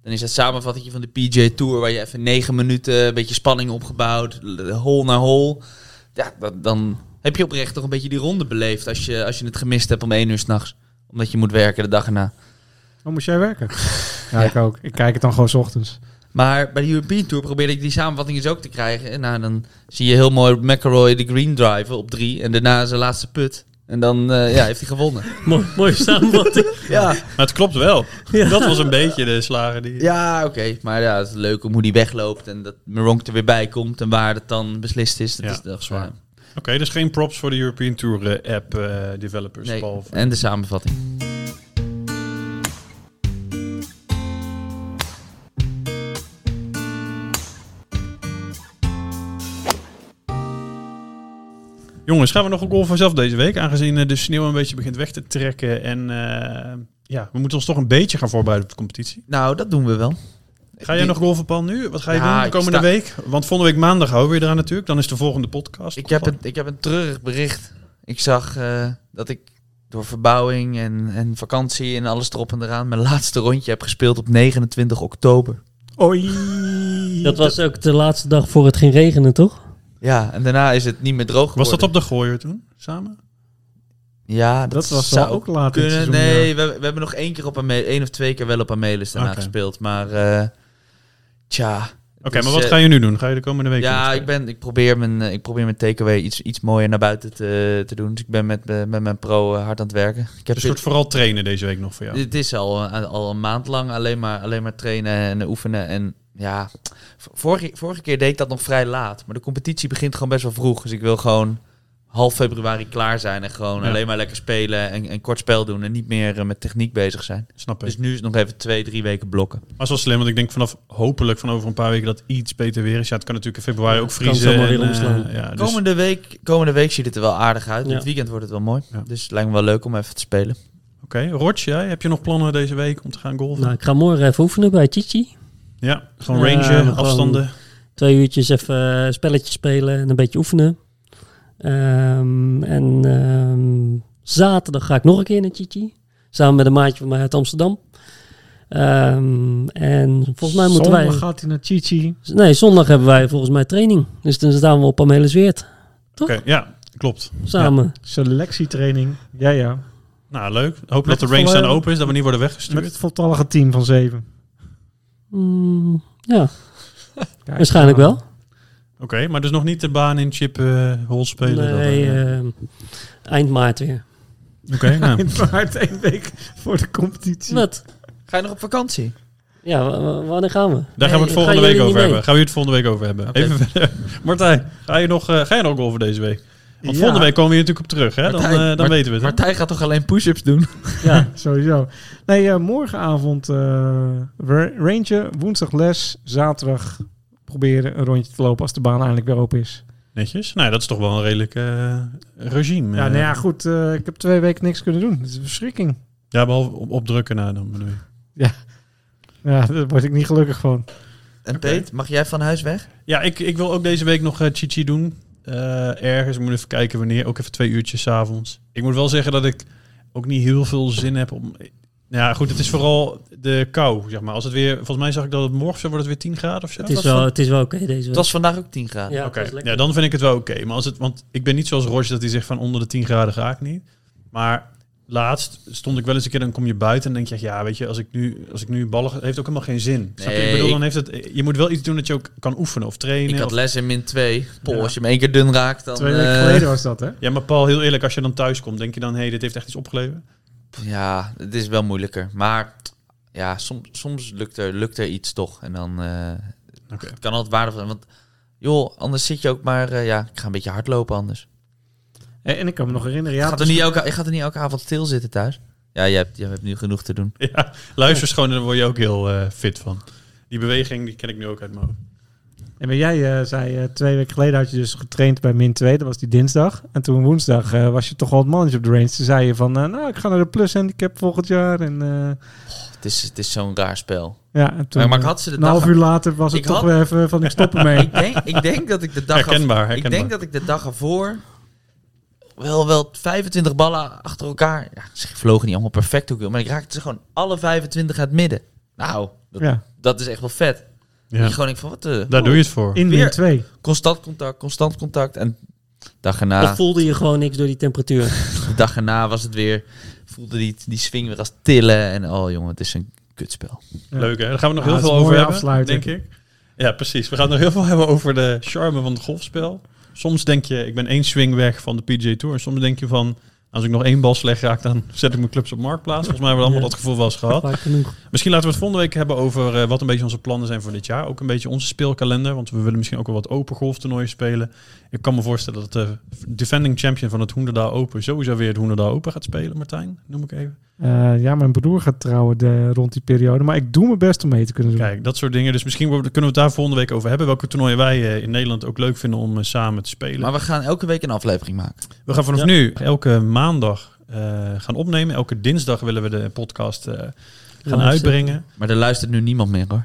S5: dan is dat samenvattingje van de PJ Tour, waar je even negen minuten een beetje spanning opgebouwd, l- hole naar hole. Ja, dat, dan heb je oprecht toch een beetje die ronde beleefd als je, als je het gemist hebt om één uur s'nachts. Omdat je moet werken de dag erna.
S3: Dan moest jij werken. Ja, ik ook. Ik kijk het dan gewoon 's ochtends.
S5: Maar bij de European Tour probeerde ik die samenvatting dus ook te krijgen. En nou, dan zie je heel mooi McElroy de green driven op drie. En daarna zijn laatste put. En dan eh, ja, heeft hij gewonnen.
S4: Mooi, mooi samenvatting.
S5: Ja,
S1: Maar het klopt wel. Dat was een beetje de slager die...
S5: Ja, oké. Maar ja, het is leuk om hoe die wegloopt en dat Meronk er weer bij komt en waar het dan beslist is. Dat
S1: Ja,
S5: is toch zwaar.
S1: ja. Oké, dus geen props voor de European Tour eh, app eh, developers.
S5: Nee,
S1: Paul.
S5: En de samenvatting.
S1: Jongens, gaan we nog een goal vanzelf deze week? Aangezien eh, de sneeuw een beetje begint weg te trekken. En eh, ja, we moeten ons toch een beetje gaan voorbereiden op de competitie.
S5: Nou, dat doen we wel.
S1: Ga jij
S5: Die-
S1: nog golven, Paul, nu? Wat ga je
S5: Ja,
S1: doen de
S5: ik
S1: komende
S5: sta-
S1: week? Want volgende week maandag houden we weer eraan natuurlijk. Dan is de volgende podcast.
S5: Ik heb, een, ik heb een treurig bericht. Ik zag eh, dat ik door verbouwing en, en vakantie en alles erop en eraan mijn laatste rondje heb gespeeld op 29 oktober.
S3: Oei.
S4: Dat was ook de laatste dag voor het ging regenen, toch?
S5: Ja, en daarna is het niet meer droog
S1: Was
S5: geworden.
S1: dat op de gooier toen? Samen?
S5: Ja, dat,
S3: Dat was
S5: zou
S3: wel ook laat in het
S5: kunnen.
S3: seizoen,
S5: nee, we, we hebben nog één keer op Ame- één of twee keer wel op Amelis daarna
S1: Oké.
S5: gespeeld. Maar eh tja,
S1: Oké,
S5: Dus,
S1: maar wat
S5: eh,
S1: ga je nu doen? Ga je de komende week
S5: Ja,
S1: doen?
S5: ik, ben, ik probeer mijn, eh, ik probeer mijn takeaway iets, iets mooier naar buiten te, te doen. Dus ik ben met, eh, met mijn pro eh, hard aan het werken. Ik heb
S1: Dus het wordt vooral trainen deze week nog voor jou.
S5: Het is al, eh, al een maand lang alleen maar, alleen maar trainen en oefenen. En ja, v- vorige, vorige keer deed ik dat nog vrij laat. Maar de competitie begint gewoon best wel vroeg. Dus ik wil gewoon half februari klaar zijn. En gewoon
S1: Ja.
S5: alleen maar lekker spelen en, en kort spel doen. En niet meer eh, met techniek bezig zijn.
S1: Snap ik.
S5: Dus nu is het nog even twee, drie weken blokken.
S1: Maar het is wel slim, want ik denk vanaf hopelijk van over een paar weken dat iets beter weer is. Ja, het kan natuurlijk in februari
S4: Ja,
S1: ook
S4: het kan
S1: vriezen.
S4: zomaar
S1: en,
S4: weer
S1: eh,
S4: omslaan.
S1: ja, dus
S5: Komende week, komende week ziet het er wel aardig uit.
S4: Ja.
S5: Dit weekend wordt het wel mooi.
S1: Ja.
S5: Dus het lijkt me wel leuk om even te spelen.
S1: Oké, Roch, jij, heb je nog plannen deze week om te gaan golven?
S4: Nou, ik ga morgen even oefenen bij Chichi.
S1: Ja, gewoon
S4: Ja,
S1: rangen,
S4: gewoon-
S1: afstanden.
S4: Twee uurtjes even eh, spelletjes spelen en een beetje oefenen. Ehm, en ehm, zaterdag ga ik nog een keer naar Chichi. Samen met een maatje van mij uit Amsterdam. Ehm, en volgens mij moeten wij...
S3: Zondag gaat hij naar Chichi.
S4: Nee, zondag hebben wij volgens mij training. Dus dan staan we op Amelisweert
S1: Oké, ja, klopt.
S4: samen.
S3: Selectietraining. Ja, ja.
S1: Nou, leuk. Hoop
S3: Met
S1: dat de
S3: het
S1: range dan
S3: volle-
S1: open is, dat we niet worden
S3: Met
S1: weggestuurd.
S3: het voltallige team van zeven.
S4: Mm, ja,
S3: Kijk,
S4: waarschijnlijk
S3: ja.
S4: wel.
S1: Oké, maar dus nog niet de baan in chip eh hol spelen. dat,
S4: nee, eh,
S1: eh.
S4: ehm, eind maart weer.
S1: Oké, nou.
S3: In maart één week voor de competitie.
S4: Wat?
S5: Ga je nog op vakantie?
S4: Ja, wa- wa- wanneer gaan we?
S1: Daar gaan we het
S4: Nee,
S1: volgende
S4: gaan
S1: week
S4: jullie
S1: over
S4: niet
S1: hebben. Gaan we het volgende week over hebben.
S5: Oké.
S1: Even verder. Martijn, ga je nog, eh, ga je nog golven deze week? Want volgende
S3: Ja.
S1: week komen we hier natuurlijk op terug, hè? Dan,
S5: Martijn,
S1: eh, dan
S5: Mart-
S1: weten we het. hè?
S5: Martijn gaat toch alleen push-ups doen?
S4: Ja,
S3: Sowieso. Nee, eh, morgenavond eh ra- rangen, woensdag les, zaterdag proberen een rondje te lopen als de baan eindelijk weer open is.
S1: Netjes. Nou, dat is toch wel een redelijk eh, regime.
S3: Ja,
S1: eh.
S3: nou ja, goed. eh, ik heb twee weken niks kunnen doen. Dat is een verschrikking.
S1: Ja, behalve op, op drukken na dan bedoel ik.
S3: Ja, daar word ik niet gelukkig van.
S5: En
S1: Oké.
S5: Peet, mag jij van huis weg?
S1: Ja, ik, ik wil ook deze week nog eh, Chichi doen. Eh, ergens, ik moet even kijken wanneer. Ook even twee uurtjes 's avonds. Ik moet wel zeggen dat ik ook niet heel veel zin heb om... Nou ja, goed, het is vooral de kou, zeg maar. Als het weer, volgens mij zag ik dat het morgen zou worden het weer 10 graden of zo.
S4: het
S5: was
S4: is wel,
S5: van-
S4: het is wel oké deze
S5: Het
S4: week.
S5: was vandaag ook 10 graden.
S4: ja,
S1: Oké,
S4: het was lekker.
S1: ja, dan vind ik het wel oké. Maar als het, want ik ben niet zoals Roger dat hij zegt van onder de 10 graden ga ik niet. Maar laatst stond ik wel eens een keer, dan kom je buiten en denk je, ja, weet je, als ik nu, als ik nu ballen, ga- heeft ook helemaal geen zin. Snap je? Ik
S5: Nee,
S1: bedoel,
S5: ik-
S1: dan heeft het, je moet wel iets doen dat je ook kan oefenen of trainen.
S5: Ik had
S1: of-
S5: les in min 2. Pol,
S1: Ja.
S5: als je hem één keer dun raakt, dan...
S3: Twee weken
S5: eh,
S3: geleden was dat, hè?
S1: Ja, maar Paul, heel eerlijk, als je dan thuis komt, denk je dan, hé, hey, dit heeft echt iets opgeleverd?
S5: Ja, het is wel moeilijker. Maar ja, soms, soms lukt, er, lukt er iets toch. En dan eh,
S1: Oké.
S5: het kan altijd waardevol zijn. Want joh, anders zit je ook maar... eh, ja, ik ga een beetje hardlopen anders.
S3: En, en ik kan me nog herinneren. Ja,
S5: ik, ga
S3: dat
S5: er
S3: is-
S5: niet elke, ik ga er niet elke avond stilzitten thuis. Ja, jij hebt, jij hebt nu genoeg te doen.
S1: Ja, luister eens gewoon en dan word je ook heel eh, fit van. Die beweging, die ken ik nu ook uit mijn hoofd.
S3: En maar jij eh, zei eh, twee weken geleden had je dus getraind bij min 2. Dat was die dinsdag. En toen woensdag eh, was je toch wel het mannetje op de range. Toen zei je van, eh, nou, ik ga naar de plus handicap volgend jaar. En eh,
S5: het is, het is zo'n raar spel.
S3: Ja, en toen,
S5: maar ik
S3: eh,
S5: had ze de
S3: een
S5: dag-
S3: half uur later was het
S5: Ik
S3: toch
S5: had-
S3: weer even van ik stop ermee.
S5: Ik denk, ik denk dat ik de dag
S1: Herkenbaar,
S5: af- Ik
S1: herkenbaar.
S5: denk dat ik de dag ervoor wel, wel 25 ballen achter elkaar. Ja, ze vlogen niet allemaal perfect ook, maar ik raakte ze gewoon alle 25 uit het midden. Nou, dat,
S3: ja,
S5: dat is echt wel vet.
S1: Ja.
S5: Ik gewoon denk van wat de
S1: Daar doe je het voor.
S3: in
S5: Weer-
S3: min 2.
S5: constant contact, constant contact en dag erna,
S4: Of voelde je gewoon niks door die temperatuur?
S5: de dag erna was het weer voelde die, die swing weer als tillen en oh jongen, het is een kutspel.
S3: Ja.
S1: Leuk hè? Daar gaan we nog
S3: Ja,
S1: heel veel
S3: dat is een
S1: over
S3: mooie
S1: hebben,
S3: afsluiting.
S1: denk ik. Ja, precies. We gaan nog heel veel hebben over de charme van het golfspel. Soms denk je, ik ben één swing weg van de PJ Tour. En soms denk je van, als ik nog één bal slecht raak, dan zet ik mijn clubs op marktplaats. Volgens mij hebben we allemaal
S4: Ja.
S1: dat gevoel wel eens gehad.
S4: Vaak genoeg.
S1: Misschien laten we het volgende week hebben over eh, wat een beetje onze plannen zijn voor dit jaar. Ook een beetje onze speelkalender, want we willen misschien ook wel wat open golftoernooien spelen. Ik kan me voorstellen dat de defending champion van het Hoenderdaal Open sowieso weer het Hoenderdaal Open gaat spelen, Martijn. Noem ik even.
S3: Eh, ja, mijn broer gaat trouwen de, rond die periode. Maar ik doe mijn best om mee te kunnen doen.
S1: Kijk, dat soort dingen. Dus misschien wo- kunnen we het daar volgende week over hebben. Welke toernooien wij eh, in Nederland ook leuk vinden om eh, samen te spelen.
S5: Maar we gaan elke week een aflevering maken.
S1: we gaan vanaf
S4: Ja.
S1: nu elke maandag eh, gaan opnemen. Elke dinsdag willen we de podcast eh, gaan
S4: Live
S1: uitbrengen.
S5: Maar er luistert nu niemand meer hoor.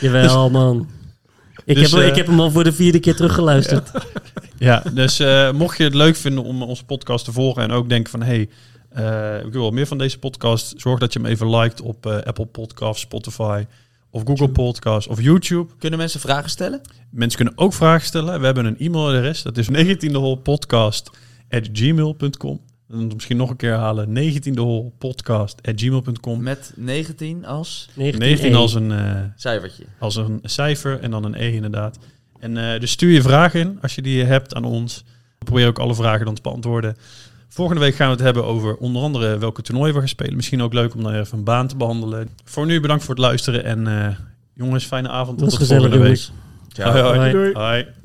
S4: Jawel, man. Ik,
S1: Dus,
S4: heb,
S1: eh,
S4: ik heb hem al voor de vierde keer teruggeluisterd.
S1: Ja, dus eh, mocht je het leuk vinden om onze podcast te volgen en ook denken van hey, eh, ik wil wel meer van deze podcast, zorg dat je hem even liked op eh, Apple Podcasts, Spotify of Google Podcasts of YouTube.
S5: Kunnen mensen vragen stellen?
S1: Mensen kunnen ook vragen stellen. We hebben een e-mailadres. Dat is 19deholpodcast.gmail.com. En dan misschien nog een keer halen. 19deholpodcast.gmail.com.
S5: Met 19 als
S4: E.
S1: 19 als een, eh,
S5: cijfertje.
S1: als een cijfer en dan een E inderdaad. En eh, dus stuur je vragen in als je die hebt aan ons. We proberen ook alle vragen dan te beantwoorden. Volgende week gaan we het hebben over onder andere welke toernooien we gaan spelen. Misschien ook leuk om dan even een baan te behandelen. Voor nu bedankt voor het luisteren en eh, jongens, fijne avond. en
S4: Dat was
S1: Tot
S4: gezellig,
S1: volgende week.
S4: jongens.
S1: Hoi, hoi.
S4: Hoi.
S1: Hoi.